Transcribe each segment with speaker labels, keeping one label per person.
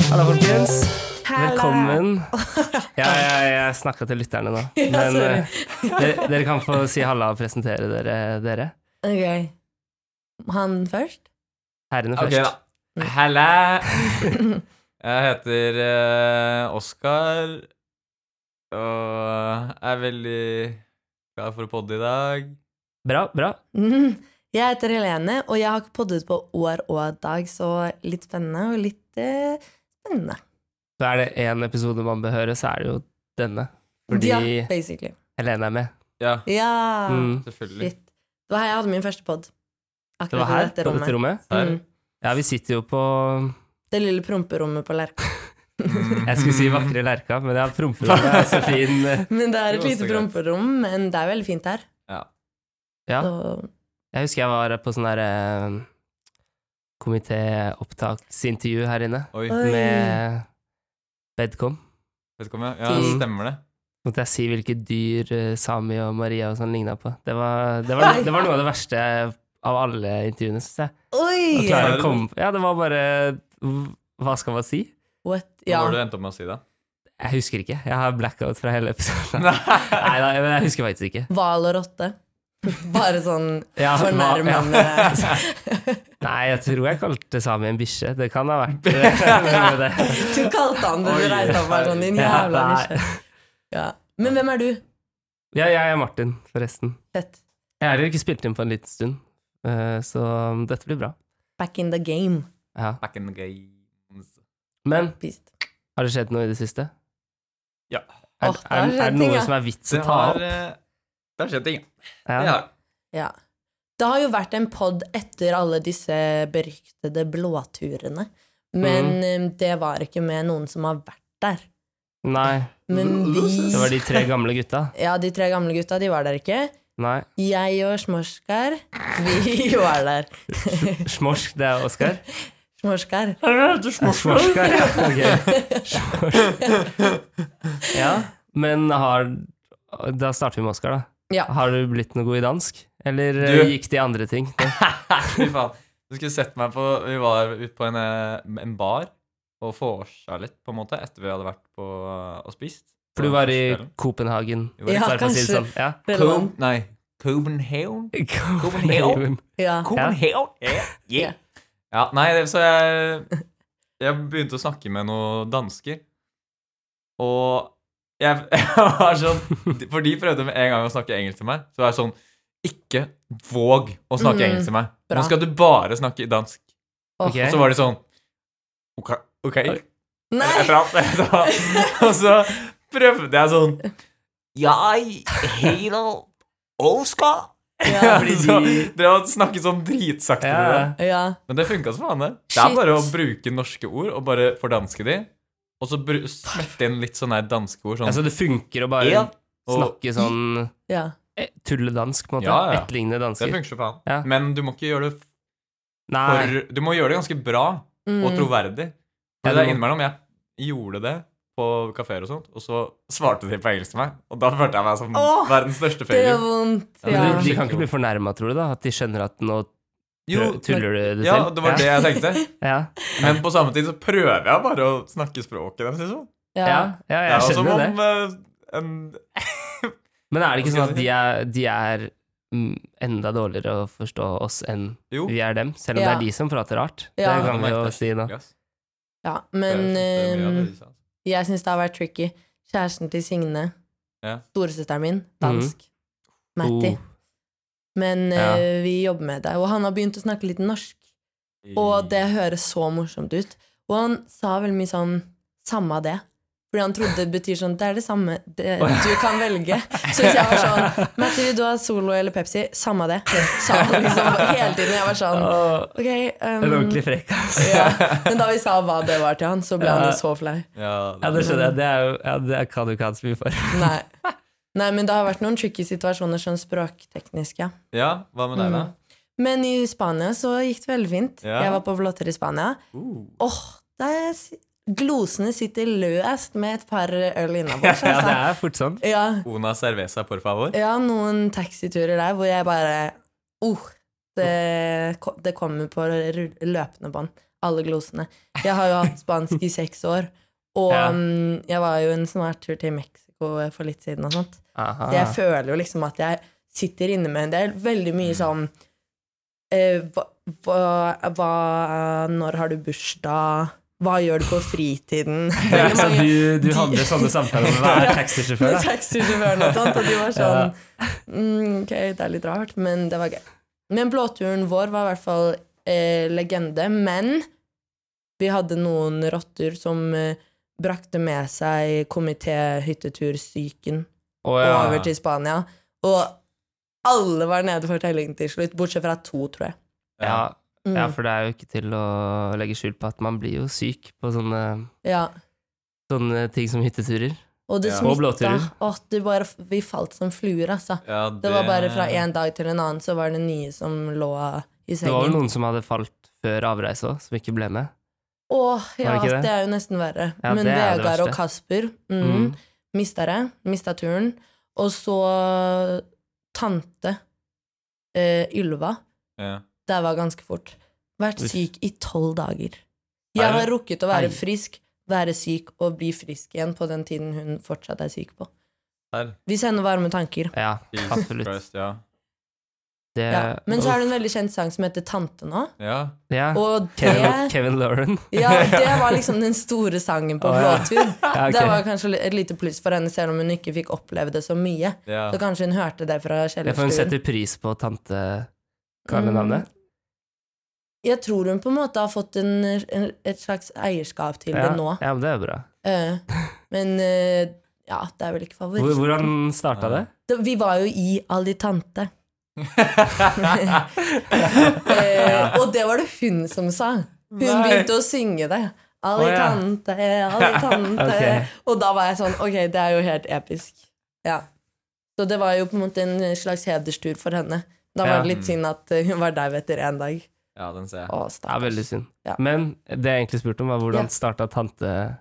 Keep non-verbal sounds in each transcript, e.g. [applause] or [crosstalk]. Speaker 1: folkens.
Speaker 2: Halla.
Speaker 1: Velkommen.
Speaker 2: [laughs]
Speaker 1: Ja, ja, jeg snakka til lytterne nå.
Speaker 2: Ja,
Speaker 1: Men
Speaker 2: sorry.
Speaker 1: eh, dere, dere kan få si halla og presentere dere. dere.
Speaker 2: Ok. Han først? [laughs]
Speaker 1: Herrene
Speaker 3: Ok,
Speaker 1: først.
Speaker 3: da. Halla! Jeg heter eh, Oskar, og er veldig glad for å podde i dag.
Speaker 1: Bra, bra.
Speaker 2: Mm. Jeg heter Helene, og jeg har ikke poddet på år og dag, så litt spennende og litt eh, spennende.
Speaker 1: Så er det én episode man bør høre, så er det jo denne. Fordi
Speaker 2: Ja, basically.
Speaker 1: Helene er med.
Speaker 3: Ja,
Speaker 2: Ja.
Speaker 1: Mm.
Speaker 3: selvfølgelig.
Speaker 2: Shit. Det var her jeg hadde min første pod.
Speaker 1: Det var
Speaker 2: Akkurat i
Speaker 1: her,
Speaker 2: dette
Speaker 1: på dette
Speaker 2: rommet.
Speaker 1: rommet.
Speaker 3: Her.
Speaker 2: Mm.
Speaker 1: Ja, vi sitter jo på
Speaker 2: Det lille promperommet på Lerka. [laughs]
Speaker 3: Mm.
Speaker 1: Jeg skulle si vakre Lerka, men ja, promperommet er så fin. eh.
Speaker 2: Men det er
Speaker 3: Det
Speaker 2: et
Speaker 3: var
Speaker 2: lite
Speaker 3: så greit.
Speaker 2: promperom, men det er veldig fint her.
Speaker 3: Ja.
Speaker 1: Ja.
Speaker 2: Så,
Speaker 1: Jeg husker jeg var på sånn derre komitéopptaksintervju her inne
Speaker 3: Oi,
Speaker 2: Oi.
Speaker 1: med Bedcom.
Speaker 3: vet ikke om jeg Ja,
Speaker 2: Mm.
Speaker 3: stemmer det.
Speaker 1: Måtte jeg si hvilke dyr eh, Sami og Maria og sånn ligna på. Det var, det, var, det var noe av det verste av alle intervjuene, syns jeg. Å
Speaker 2: oi!
Speaker 1: klare å komme Ja, det var bare Hva skal man si?
Speaker 2: What?
Speaker 3: Hva
Speaker 2: Ja.
Speaker 3: var det du endte opp med å si da?
Speaker 1: Jeg husker ikke. Jeg har blackout fra hele episoden.
Speaker 3: Nei.
Speaker 1: Nei, nei, men jeg husker faktisk ikke.
Speaker 2: Hval og rotte. [laughs] Bare sånn
Speaker 1: Ja, hva-
Speaker 2: fornærmende
Speaker 1: [laughs] Nei, jeg tror jeg kalte Sami en bikkje. Det kan ha vært eh, noe med det.
Speaker 2: Du kalte han det du
Speaker 3: Oi,
Speaker 2: reiste opp her sånn, din
Speaker 1: Ja,
Speaker 2: jævla
Speaker 1: nei.
Speaker 2: nisje. Ja. Men hvem er du?
Speaker 1: Ja, jeg er Martin, forresten.
Speaker 2: Fett.
Speaker 1: Jeg har ikke spilt inn på en liten stund, eh, så dette blir bra.
Speaker 2: Back in the game.
Speaker 1: Ja.
Speaker 3: Back in the games.
Speaker 1: Men
Speaker 2: Beast.
Speaker 1: har det skjedd noe i det siste?
Speaker 3: Ja.
Speaker 1: Er,
Speaker 2: Åh, det har
Speaker 1: er, er
Speaker 2: skjedd
Speaker 1: det
Speaker 2: ting, ja.
Speaker 1: noe som er vits å
Speaker 3: Det
Speaker 1: ta
Speaker 3: har
Speaker 1: opp?
Speaker 3: eh, Det har skjedd ting, ja. Det
Speaker 1: Ja.
Speaker 3: har det.
Speaker 2: Ja. Det har jo vært en pod etter alle disse beryktede blåturene. Men
Speaker 1: Mm.
Speaker 2: eh, det var ikke med noen som har vært der.
Speaker 1: Nei.
Speaker 2: Men vi
Speaker 1: Det var de tre gamle gutta?
Speaker 2: Ja, de tre gamle gutta, de var der ikke.
Speaker 1: Nei.
Speaker 2: Jeg og Smorskar, vi [laughs] var der.
Speaker 1: Smorsk, det er
Speaker 3: [laughs]
Speaker 1: Oskar?
Speaker 2: Smorskar.
Speaker 1: Smorskar, ja. Ok. Smorsk. Ja, men har Da starter vi med Oskar, da.
Speaker 2: Ja.
Speaker 1: Har du blitt noe god i dansk? Eller eh,
Speaker 3: Du-
Speaker 1: gikk det i andre ting?
Speaker 3: Fy faen. Du skulle sett meg på Vi var ute på en, eh, en bar og vorsa litt, på en måte, etter vi hadde vært på eh, og spist.
Speaker 1: For du var i
Speaker 3: Kvelden.
Speaker 1: Copenhagen.
Speaker 3: Vi var i
Speaker 2: Ja,
Speaker 1: bare for å si det
Speaker 2: kanskje.
Speaker 1: sånn. Ja.
Speaker 2: Relevant.
Speaker 3: Cob- Nei. Copenhagen?
Speaker 1: Copenhagen.
Speaker 2: Ja.
Speaker 3: Copenhagen? Yeah.
Speaker 2: Ja.
Speaker 3: Yeah. Ja, nei, det, så jeg Jeg begynte å snakke med noen dansker, og jeg, [laughs] jeg var sånn For de prøvde med en gang å snakke engelsk til meg, så var jeg sånn Ikke våg å snakke
Speaker 2: Mm,
Speaker 3: engelsk til meg.
Speaker 2: bra.
Speaker 3: Nå skal du bare snakke dansk.
Speaker 2: Åh.
Speaker 1: Ok.
Speaker 3: Og så var de sånn Ok, ok [laughs]
Speaker 2: Nei!
Speaker 1: [laughs]
Speaker 3: jeg prater, [laughs] så, Og så prøvde jeg sånn Jeg heter Oskar
Speaker 2: Ja.
Speaker 3: Fordi de drev og snakket sånn dritsakte
Speaker 1: Ja.
Speaker 3: med dem.
Speaker 2: ja.
Speaker 3: Men det funka som faen, det. Det er
Speaker 2: Shit.
Speaker 3: bare å bruke norske ord og bare fordanske de. Og så bru- smette inn litt sånne her danske ord. Sånn
Speaker 1: Altså, det funker å bare
Speaker 3: Ja. og,
Speaker 1: snakke sånn
Speaker 2: ja.
Speaker 1: eh, tulledansk, på en måte.
Speaker 3: Ja, ja.
Speaker 1: Etterligne
Speaker 3: Det
Speaker 1: dansker.
Speaker 3: funker som faen.
Speaker 1: Ja.
Speaker 3: Men du må ikke gjøre det f-
Speaker 1: Nei.
Speaker 3: for Du må gjøre det ganske bra
Speaker 2: Mm.
Speaker 3: og troverdig.
Speaker 1: Ja, du
Speaker 3: For det er
Speaker 1: må-
Speaker 3: innimellom jeg gjorde det på kafeer og sånt, og så svarte de på engelsk til meg, og da følte jeg meg som
Speaker 2: Åh,
Speaker 3: verdens største
Speaker 2: Det gjør
Speaker 3: failure.
Speaker 2: vondt.
Speaker 3: Ja,
Speaker 2: Ja.
Speaker 1: Men
Speaker 3: det-
Speaker 1: de, de kan ikke bli fornærma, tror du, da? At de skjønner at nå
Speaker 3: Jo,
Speaker 1: prø- tuller du det
Speaker 3: ja,
Speaker 1: til?
Speaker 3: det var det jeg tenkte.
Speaker 1: [laughs] Ja,
Speaker 3: Men på samme tid så prøver jeg bare å snakke språket deres, liksom.
Speaker 1: ja, ja, ja
Speaker 3: Det er
Speaker 1: jeg
Speaker 3: jo som
Speaker 1: skjønner det.
Speaker 3: om altså, eh, en
Speaker 1: Men er det ikke
Speaker 3: Hva
Speaker 1: sånn
Speaker 3: skal
Speaker 1: at de er, de er mm, enda dårligere å forstå oss enn
Speaker 3: Jo.
Speaker 1: vi er dem? Selv om det
Speaker 2: Ja.
Speaker 1: er de som prater rart.
Speaker 2: Ja.
Speaker 1: Det kan vi jo si nå.
Speaker 2: ja. Men eh, jeg syns det har vært tricky. Kjæresten til Signe,
Speaker 3: Ja.
Speaker 2: storesøsteren min, dansk. Matti.
Speaker 1: Oh.
Speaker 2: Men
Speaker 1: Ja.
Speaker 2: eh, vi jobber med det. Og han har begynt å snakke litt norsk. Og det høres så morsomt ut. Og han sa veldig mye sånn 'samme det'. Fordi han trodde det betyr sånn 'det er det samme, det, du kan velge'. Så hvis jeg var sånn 'Mette, vil du ha Solo eller Pepsi?' 'Samme det', sa han liksom hele tiden. Jeg var sånn
Speaker 3: Uh,
Speaker 1: Åh,
Speaker 2: Ok. ehm,
Speaker 1: En Oh. ordentlig frekk, ass.
Speaker 2: ja. Men da vi sa hva det var til han, så ble han
Speaker 1: Ja.
Speaker 2: jo så flau.
Speaker 3: Ja,
Speaker 1: Ja, det skjønner jeg. Det er jo ja, Det kan du ikke ha så mye for.
Speaker 2: Nei. Nei, men det har vært noen tricky situasjoner sånn språkteknisk, ja.
Speaker 3: ja hva med deg, da?
Speaker 1: Mm.
Speaker 2: Men i Spania så gikk det veldig fint.
Speaker 3: Ja.
Speaker 2: Jeg var på blåter i Spania.
Speaker 1: [laughs]
Speaker 3: Uh.
Speaker 2: Åh, det er si- glosene sitter løst med et par øl
Speaker 1: [laughs] Ja,
Speaker 2: innabords.
Speaker 1: det
Speaker 2: Altså.
Speaker 1: er fort sånn.
Speaker 2: Ja,
Speaker 3: Una cerveza, por favor.
Speaker 2: ja, noen taxiturer der hvor jeg bare Oh, eh, ko- det kommer på rull- løpende bånd, alle glosene. Jeg har jo hatt spansk i seks år, og
Speaker 1: Ja.
Speaker 2: mm, jeg var jo en sånn her tur til Mexico for litt siden og sånt.
Speaker 1: Aha.
Speaker 2: Så jeg føler jo liksom at jeg sitter inne med Det er veldig mye sånn eh, hva, hva, hva Når har du bursdag? Hva gjør du på fritiden?
Speaker 1: Ja, ikke
Speaker 2: Veldig
Speaker 1: sant,
Speaker 2: mange-
Speaker 1: du, du hadde sånne samtaler med
Speaker 2: [laughs]
Speaker 1: hver taxisjåfør.
Speaker 2: med
Speaker 1: da.
Speaker 2: taxisjåføren og sånt, og de var sånn mm, Ok, det er litt rart, men det var gøy. Men blåturen vår var i hvert fall eh, legende, men vi hadde noen rotter som eh, brakte med seg komité-hyttetursyken
Speaker 1: Å, ja.
Speaker 2: over til Spania, og alle var nede for telling til slutt, bortsett fra to, tror jeg.
Speaker 1: Ja,
Speaker 2: Mm,
Speaker 1: ja, for det er jo ikke til å legge skjul på at man blir jo syk på sånne,
Speaker 2: ja.
Speaker 1: sånne ting som hytteturer.
Speaker 2: Og det
Speaker 3: Ja.
Speaker 1: Og
Speaker 2: smitta.
Speaker 1: blåturer.
Speaker 2: Åh, det bare, vi falt som fluer, altså.
Speaker 3: Ja,
Speaker 2: Det var bare fra en dag til en annen, så var det nye som lå i
Speaker 1: Det var
Speaker 2: sengen.
Speaker 1: vel noen som hadde falt før avreise òg, som ikke ble med.
Speaker 2: Åh, ja,
Speaker 1: Var det
Speaker 2: det,
Speaker 1: ikke det?
Speaker 2: er jo nesten verre.
Speaker 1: Ja,
Speaker 2: Men
Speaker 1: det er det
Speaker 2: Vegard og
Speaker 1: verste.
Speaker 2: Kasper mm,
Speaker 1: Mm.
Speaker 2: mista det. Mista turen. Og så tante eh, Ylva.
Speaker 3: Ja.
Speaker 2: Det var ganske fort. Vært
Speaker 1: Uff.
Speaker 2: syk i tolv dager. Jeg
Speaker 3: Er det-
Speaker 2: har rukket å
Speaker 1: Ei.
Speaker 2: være frisk, være syk og bli frisk igjen på den tiden hun fortsatt er syk på.
Speaker 3: Der.
Speaker 2: Vi sender varme tanker.
Speaker 1: Ja,
Speaker 3: Jesus
Speaker 1: absolutt.
Speaker 3: Christ, ja.
Speaker 1: Det,
Speaker 2: Ja. Men så er det en veldig kjent sang som heter Tante nå.
Speaker 3: ja.
Speaker 1: ja.
Speaker 2: Og
Speaker 1: Ah, Kevin,
Speaker 2: det,
Speaker 1: Kevin Lauren.
Speaker 2: [laughs] ja, det var liksom den store sangen på
Speaker 1: Å, ja.
Speaker 2: blåtur.
Speaker 1: Ja, [laughs] ok.
Speaker 2: Det var kanskje li- et lite pluss for henne, selv om hun ikke fikk oppleve det så mye.
Speaker 3: Ja.
Speaker 2: Så kanskje hun hørte det fra
Speaker 1: Ja, for hun
Speaker 2: kjellerstuen.
Speaker 1: setter pris på tante Hva er det navnet?
Speaker 2: Mm, Jeg tror hun på en måte har fått en, en, et slags eierskap til
Speaker 1: Ja,
Speaker 2: det nå.
Speaker 1: ja, men det er bra.
Speaker 2: Eh, men eh, ja, det er vel ikke
Speaker 1: Hvor,
Speaker 2: favoritt.
Speaker 1: hvordan starta det?
Speaker 2: Da- Vi var jo i
Speaker 1: [laughs]
Speaker 2: Ali Tante. Eh, og det var det hun som sa. Hun
Speaker 3: Nei.
Speaker 2: begynte å synge det. Ali
Speaker 1: Å, ja.
Speaker 2: Tante, Ali Tante.
Speaker 1: [laughs] Ok.
Speaker 2: Og da var jeg sånn Ok, det er jo helt episk. Ja. Så det var jo på en måte en slags hederstur for henne. Da var
Speaker 1: Ja.
Speaker 2: det litt synd at eh, hun var dau etter én dag.
Speaker 3: ja, den ser jeg.
Speaker 2: Å,
Speaker 1: Det er
Speaker 2: stakkars.
Speaker 1: veldig synd.
Speaker 2: Ja.
Speaker 1: Men det jeg egentlig spurte om, var
Speaker 2: Ja.
Speaker 1: hvordan starta tantenavnet?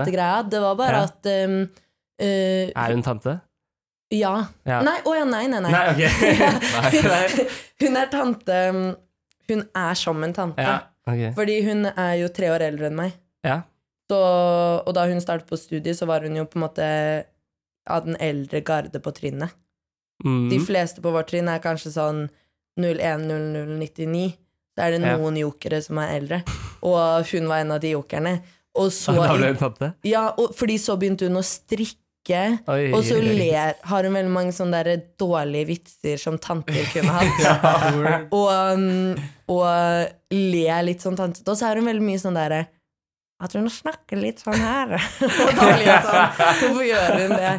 Speaker 2: Tantegreia, det var
Speaker 1: Ja.
Speaker 2: bare at um, eh,
Speaker 1: Er hun tante?
Speaker 2: Ja.
Speaker 1: Ja.
Speaker 2: Nei, å ja, nei, nei, [laughs] nei.
Speaker 1: Nei, ok. [laughs]
Speaker 2: hun, [laughs] hun er tante um, Hun er som en tante.
Speaker 1: ja, ok.
Speaker 2: Fordi hun er jo tre år eldre enn meg.
Speaker 1: Ja.
Speaker 2: Så, og da hun startet på studiet, så var hun jo på en måte av den eldre garde på trinnet.
Speaker 1: Mm.
Speaker 2: De fleste på vårt trinn er kanskje sånn 010099. Så er det
Speaker 1: Ja.
Speaker 2: noen jokere som er eldre. Og hun var en av de jokerne. Og så,
Speaker 1: [laughs] [laughs] Da ble hun tante?
Speaker 2: ja, og, fordi så begynte hun å strikke.
Speaker 1: Oi.
Speaker 2: Og så ler, har hun veldig mange sånne der dårlige vitser som tanter
Speaker 1: [laughs]
Speaker 2: kunne hatt. og, um, og ler litt sånn tantete. Og så er hun veldig mye sånn derre At hun snakker litt sånn her. [laughs] og da blir jeg sånn Hvorfor gjør hun det?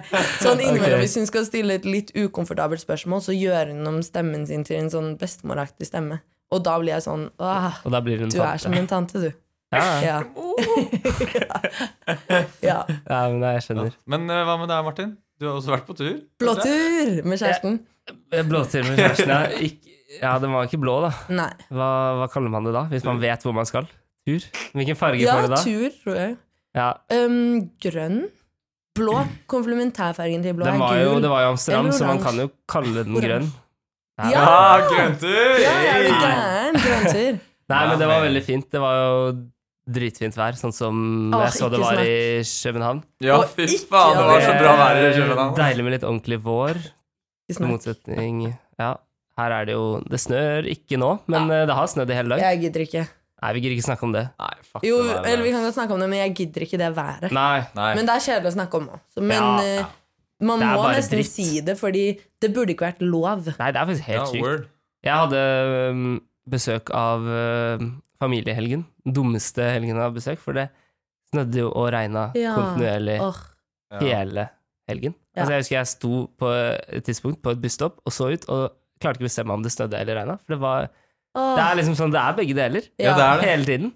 Speaker 2: Sånn innimellom
Speaker 1: Ok.
Speaker 2: hvis hun skal stille et litt ukomfortabelt spørsmål, så gjør hun om stemmen sin til en sånn bestemoraktig stemme. Og da blir jeg sånn Åh,
Speaker 1: [laughs] Og da blir hun
Speaker 2: du er som
Speaker 1: tante.
Speaker 2: en tante, du.
Speaker 1: Ja, Mm, ja.
Speaker 2: Ja.
Speaker 1: [laughs]
Speaker 2: [laughs] ja.
Speaker 1: ja, men jeg skjønner.
Speaker 3: Men eh, hva med deg, Martin? Du har også vært på tur.
Speaker 2: Blåtur med kjæresten.
Speaker 1: Blåtur med kjæresten, ja. Ikk- Ja, den var ikke blå, da.
Speaker 2: Nei.
Speaker 1: Hva, hva kaller man det da, hvis man vet hvor man skal? Tur? Hvilken farge
Speaker 2: Ja,
Speaker 1: får det da?
Speaker 2: tur, tror jeg.
Speaker 1: Ja,
Speaker 2: Um, grønn. Blå. Komplementærfargen til blå
Speaker 1: den var
Speaker 2: er
Speaker 1: jo,
Speaker 2: gul.
Speaker 1: det var jo Amsterdam,
Speaker 2: Eller
Speaker 1: så man
Speaker 2: oransje.
Speaker 1: kan jo kalle den
Speaker 2: Oransje.
Speaker 1: grønn. Nei,
Speaker 2: Ja!
Speaker 3: Ja, grønntur!
Speaker 2: Ja, er du
Speaker 3: Hey!
Speaker 2: gæren? Grønntur.
Speaker 1: Nei, men det var
Speaker 3: Ja, men-
Speaker 1: veldig fint. Det var jo dritfint vær, sånn som
Speaker 2: Åh,
Speaker 1: jeg så det
Speaker 2: ikke
Speaker 1: var i København.
Speaker 3: Ja,
Speaker 2: Og
Speaker 3: fy
Speaker 2: ikke
Speaker 3: faen, det var så bra vær i
Speaker 1: Eh,
Speaker 3: København.
Speaker 1: Deilig med litt ordentlig vår, [laughs]
Speaker 2: Ikke
Speaker 1: i
Speaker 2: snakk.
Speaker 1: motsetning Ja, her er det jo Det snør ikke nå, men eh, det har snødd i hele dag.
Speaker 2: Jeg gidder ikke.
Speaker 1: Nei, vi gidder ikke snakke om det.
Speaker 3: Nei, fuck
Speaker 2: Jo,
Speaker 3: det der,
Speaker 2: eller vi
Speaker 3: ass.
Speaker 2: kan godt snakke om det, men jeg gidder ikke det været.
Speaker 1: Nei.
Speaker 3: Nei.
Speaker 2: Men det er kjedelig å snakke om òg. Men
Speaker 1: Ja,
Speaker 2: eh,
Speaker 1: ja.
Speaker 2: man
Speaker 1: Det er
Speaker 2: må
Speaker 1: bare
Speaker 2: nesten
Speaker 1: dritt.
Speaker 2: si det, fordi det burde ikke vært lov.
Speaker 1: Nei, det er faktisk
Speaker 3: ja,
Speaker 1: helt sykt.
Speaker 3: word.
Speaker 1: Jeg hadde øhm, besøk av øhm, familiehelgen. Den Dummeste helgen jeg har besøk, for det snødde jo og regna
Speaker 2: Ja.
Speaker 1: kontinuerlig
Speaker 2: Åh,
Speaker 3: Ja.
Speaker 1: hele helgen.
Speaker 2: Ja.
Speaker 1: Altså Jeg husker jeg sto på et tidspunkt på et busstopp og så ut, og klarte ikke å bestemme om det snødde eller regna. For det, var,
Speaker 2: åh.
Speaker 1: det er liksom sånn, det er begge deler.
Speaker 3: Ja, det er det.
Speaker 1: Hele tiden.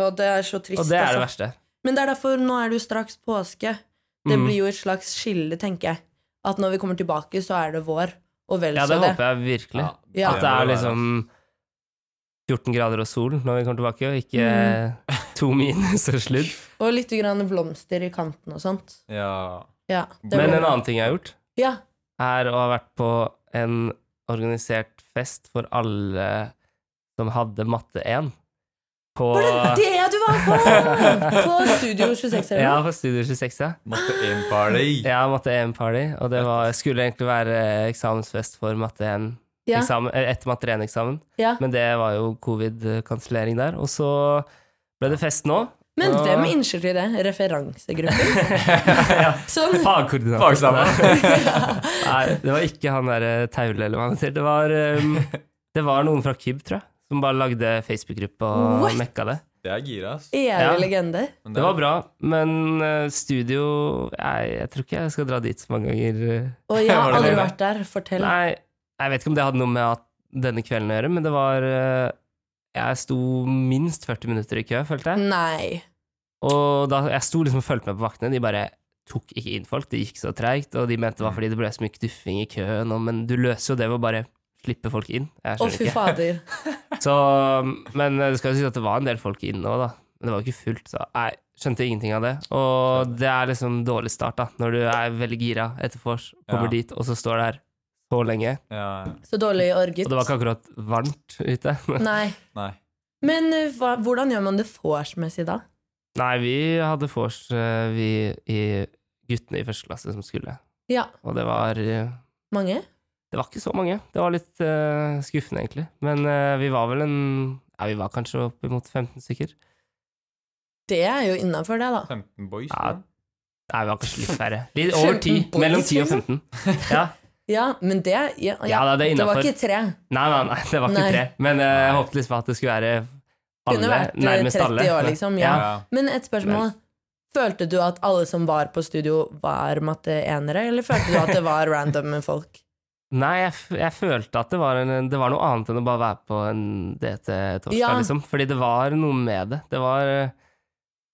Speaker 2: Og det er så trist,
Speaker 1: Og det er det
Speaker 2: altså.
Speaker 1: verste.
Speaker 2: Men det er derfor nå er det jo straks påske. Det
Speaker 1: Mm.
Speaker 2: blir jo et slags skille, tenker jeg. At når vi kommer tilbake, så er det vår. Og vel
Speaker 1: Ja, det
Speaker 2: så det.
Speaker 1: håper jeg virkelig.
Speaker 2: Ja.
Speaker 1: At det
Speaker 3: må
Speaker 1: er
Speaker 3: være.
Speaker 1: liksom 14 grader og sol når vi kommer tilbake, og ikke
Speaker 2: Mm.
Speaker 1: [laughs] to minus og sludd.
Speaker 2: Og litt grann blomster i kanten og sånt.
Speaker 3: Ja.
Speaker 2: Ja, det
Speaker 1: Men
Speaker 2: blir
Speaker 1: en
Speaker 2: bra.
Speaker 1: annen ting jeg har gjort,
Speaker 2: Ja.
Speaker 1: er å ha vært på en organisert fest for alle som hadde matte 1. På
Speaker 2: Var det det du var
Speaker 1: [laughs]
Speaker 2: på? På Studio 26 eller
Speaker 1: Ja,
Speaker 2: noe?
Speaker 1: på Studio 26, ja.
Speaker 3: Matte 1-party.
Speaker 1: [laughs] Ja, matte 1-party. Og det var, skulle egentlig være eksamensfest for matte 1
Speaker 2: Ja.
Speaker 1: eksamen, eller etter matte 1-eksamen,
Speaker 2: Ja.
Speaker 1: men det var jo covid-kansellering der. Og så ble det fest nå.
Speaker 2: Men
Speaker 1: Og-
Speaker 2: hvem innskyldte
Speaker 1: [laughs]
Speaker 2: det? Referansegruppen? Som
Speaker 1: Fagkoordinator.
Speaker 3: Fagsammen.
Speaker 1: [laughs] Nei, det var ikke han der eh, Taule eller hva han heter. Det var, eh, det var noen fra KIB, tror jeg, som bare lagde Facebook-gruppe og
Speaker 2: What?
Speaker 1: mekka det.
Speaker 3: Det er gira, ass.
Speaker 2: evig
Speaker 1: Ja.
Speaker 2: legende.
Speaker 3: Men
Speaker 1: Det var bra, men eh, studio Nei, jeg tror ikke jeg skal dra dit så mange ganger. eh.
Speaker 2: Og
Speaker 1: [laughs]
Speaker 2: jeg har
Speaker 3: Var det
Speaker 2: aldri
Speaker 3: det?
Speaker 2: vært der. Fortell.
Speaker 1: Nei, jeg vet ikke om det hadde noe med at denne kvelden å gjøre, men det var eh, Jeg sto minst 40 minutter i kø, følte jeg.
Speaker 2: Nei.
Speaker 1: Og da jeg sto liksom og fulgte med på vaktene, de bare tok ikke inn folk, det gikk så treigt, og de mente det
Speaker 2: Mm.
Speaker 1: var fordi det ble så mye knuffing i køen, og, men du løser jo det ved å bare slippe folk inn. Jeg
Speaker 2: Å,
Speaker 1: skjønner
Speaker 2: fy
Speaker 1: ikke.
Speaker 2: fader.
Speaker 1: Så, men eh, det skal jo sies at det var en del folk inne òg, da. Men det var jo ikke fullt, så jeg skjønte ingenting av det. Og det er liksom dårlig start, da, når du er veldig gira etter vors, kommer
Speaker 3: Ja.
Speaker 1: dit, og så står du her så lenge.
Speaker 3: Ja, ja.
Speaker 2: Så dårlig orget.
Speaker 1: Og det var ikke akkurat varmt ute. [laughs]
Speaker 2: Nei.
Speaker 3: nei.
Speaker 2: Men eh, hva, hvordan gjør man det vorsmessig da?
Speaker 1: Nei, vi hadde vors, eh, vi i guttene i første klasse som skulle.
Speaker 2: Ja.
Speaker 1: Og det var eh,
Speaker 2: Mange?
Speaker 1: Det var ikke så mange. Det var litt eh, skuffende, egentlig. Men eh, vi var vel en Ja, vi var kanskje oppimot 15 stykker.
Speaker 2: Det er jo innafor, det, da.
Speaker 3: 15 boys.
Speaker 1: Ja.
Speaker 3: da.
Speaker 1: Nei, vi var kanskje litt færre. Litt over 10.
Speaker 2: 15 boys,
Speaker 1: Mellom 10 og
Speaker 2: liksom? [laughs]
Speaker 1: 15. Ja.
Speaker 2: Ja, men det ja, ja.
Speaker 1: Ja, da, det er
Speaker 2: Det
Speaker 1: innenfor.
Speaker 2: var ikke tre.
Speaker 1: Nei, nei, nei, det var ikke
Speaker 2: Nei.
Speaker 1: tre. Men eh, jeg håpet liksom at det skulle være
Speaker 2: Kunne
Speaker 1: alle,
Speaker 2: vært, eh,
Speaker 1: nærmest
Speaker 2: 30
Speaker 1: alle.
Speaker 2: år, liksom, ja.
Speaker 3: Ja.
Speaker 2: Men et spørsmål. Følte du at alle som var på studio, var matte-enere, eller følte du at det var random folk?
Speaker 1: Nei, jeg, f- jeg følte at det var, en, det var noe annet enn å bare være på en DT-torsdag,
Speaker 2: Ja.
Speaker 1: liksom. Fordi det var noe med det. Det var eh,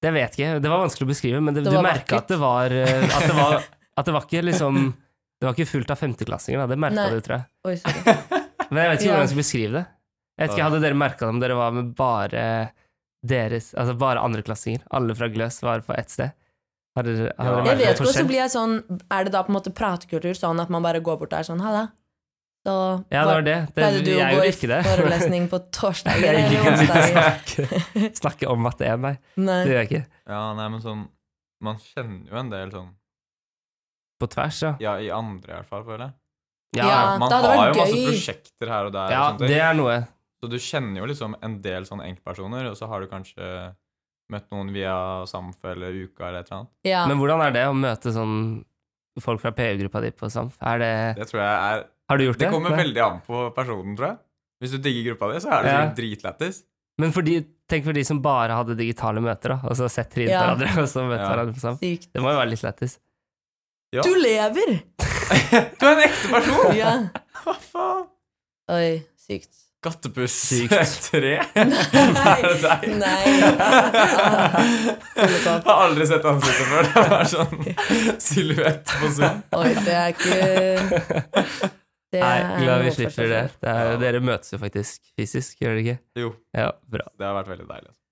Speaker 1: Det vet ikke, det var vanskelig å beskrive, men det,
Speaker 2: Det
Speaker 1: du
Speaker 2: var
Speaker 1: merka at det var eh,
Speaker 2: [laughs]
Speaker 1: At det var, at det var ikke liksom Det var ikke fullt av femteklassinger, da. Det merka
Speaker 2: Nei.
Speaker 1: du, tror jeg.
Speaker 2: [laughs] Oi, sorry.
Speaker 1: Men jeg vet ikke
Speaker 2: Ja.
Speaker 1: hvordan jeg skal beskrive det. Jeg vet ikke, Hadde dere merka det om dere var med bare deres, altså bare andreklassinger? Alle fra Gløs var på ett sted? Hadde, dere- hadde dere
Speaker 3: Ja.
Speaker 2: Jeg
Speaker 1: merket
Speaker 2: vet
Speaker 1: noe
Speaker 2: ikke, og så
Speaker 1: forskjell?
Speaker 2: blir jeg sånn Er det da på en måte pratekultur, sånn at man bare går bort og er sånn 'halla'? Så
Speaker 1: Ja, det var det. det
Speaker 2: pleide du
Speaker 1: jeg
Speaker 2: å gå
Speaker 1: gjorde
Speaker 2: i
Speaker 1: ikke det.
Speaker 2: forelesning på torsdager
Speaker 1: Jeg gikk
Speaker 2: eller
Speaker 1: ikke
Speaker 2: onsdager?
Speaker 1: snakke, [laughs] snakke om matte 1, nei. [laughs]
Speaker 2: Nei.
Speaker 1: Det gjør jeg ikke.
Speaker 3: [laughs] ja, nei, men sånn Man kjenner jo en del sånn
Speaker 1: På tvers, ja.
Speaker 3: Ja, i andre i hvert fall, føler jeg.
Speaker 1: Ja,
Speaker 2: Ja.
Speaker 1: ja.
Speaker 3: Man
Speaker 2: det hadde
Speaker 3: har jo
Speaker 2: vært
Speaker 3: masse
Speaker 2: gøy.
Speaker 3: prosjekter her og der, og sånt,
Speaker 1: det er noe.
Speaker 3: så du kjenner jo liksom en del sånne enkeltpersoner, og så har du kanskje møtt noen via Samf eller Uka eller et eller annet.
Speaker 2: Ja.
Speaker 1: Men hvordan er det å møte sånn folk fra PU-gruppa di på Samf? Er det,
Speaker 3: Det tror jeg er
Speaker 1: har du gjort det?
Speaker 3: Det kommer
Speaker 1: Nei.
Speaker 3: veldig an på personen, tror jeg. Hvis du digger gruppa di, så er det
Speaker 1: Ja.
Speaker 3: sikkert dritlættis.
Speaker 1: Men for de, tenk for de som bare hadde digitale møter, da, og så sett trynet på
Speaker 2: Ja.
Speaker 1: hverandre, og så møter
Speaker 3: Ja.
Speaker 1: hverandre på Samf.
Speaker 2: Sykt.
Speaker 1: Det må jo være litt lættis.
Speaker 3: Ja.
Speaker 2: Du lever!
Speaker 3: Du er en ekte person!
Speaker 2: [laughs] Ja.
Speaker 3: Hva faen?
Speaker 2: Oi,
Speaker 1: [laughs]
Speaker 2: sykt.
Speaker 3: Gattepuss [laughs]
Speaker 1: Sykt.
Speaker 3: 3.
Speaker 2: Nei.
Speaker 3: Er det deg?
Speaker 2: Nei.
Speaker 3: Jeg har aldri sett ansiktet før. Det var sånn silhuett på Zoom.
Speaker 2: Oi, det er
Speaker 1: [laughs]
Speaker 2: ikke Det
Speaker 1: Nei, glad vi
Speaker 2: noe
Speaker 1: slipper
Speaker 2: for
Speaker 1: det.
Speaker 2: seg selv.
Speaker 1: det er,
Speaker 3: Ja.
Speaker 1: Dere møtes jo faktisk fysisk, gjør dere ikke?
Speaker 3: Jo,
Speaker 1: Ja, bra.
Speaker 3: det har vært veldig deilig. altså.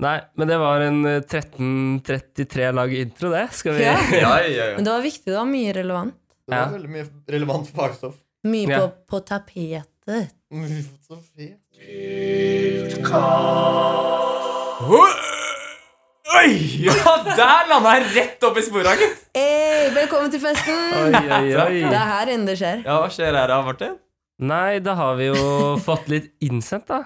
Speaker 1: Nei, men det var en eh, 1333 lag intro, det. Skal vi
Speaker 2: Ja.
Speaker 3: Ja, ja, ja.
Speaker 2: Men det var viktig. Det var mye relevant.
Speaker 4: Det var
Speaker 1: Ja.
Speaker 4: veldig mye relevant fagstoff.
Speaker 2: Mye
Speaker 1: Ja.
Speaker 2: på, på tapetet.
Speaker 4: Filosofi.
Speaker 3: Oi! Ja, der landa jeg rett opp i sporet, gitt.
Speaker 2: Hey, velkommen til festen!
Speaker 1: [laughs] Oi,
Speaker 3: [laughs]
Speaker 1: oi,
Speaker 2: Det
Speaker 1: oi.
Speaker 2: er her inne det skjer.
Speaker 3: Ja, hva skjer her da, Martin?
Speaker 1: Nei, da har vi jo fått litt innsendt, da.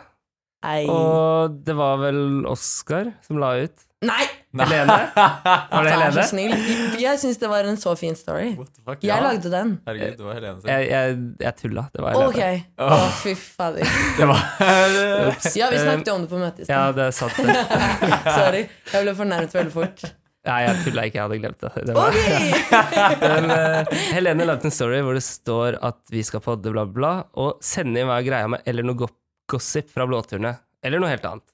Speaker 2: Ei.
Speaker 1: Og det var vel Oskar som la ut.
Speaker 2: Nei!
Speaker 1: Helene? Var det
Speaker 2: Vær så
Speaker 1: Helene?
Speaker 2: snill. Jeg- Jeg syns det var en så fin story.
Speaker 3: What the fuck?
Speaker 2: Jeg lagde den.
Speaker 3: Herregud, det var Helene sin.
Speaker 1: Jeg, jeg, jeg tulla. Det var
Speaker 2: Ok.
Speaker 1: Helene.
Speaker 2: Å, fy fader.
Speaker 3: Det var
Speaker 2: Ja, vi snakket jo om det på møtet i
Speaker 1: Eh, Ja,
Speaker 2: stad.
Speaker 1: det er sant. det.
Speaker 2: [laughs] Sorry. Jeg ble fornærmet veldig fort.
Speaker 1: Nei, jeg tulla ikke. Jeg hadde glemt det. det var.
Speaker 2: Ok!
Speaker 1: Men, eh, Helene lagde en story hvor det står at vi skal podde, bla, bla, bla, og sende inn hva er greia med eller noe go- gossip fra blåturene. Eller noe helt annet.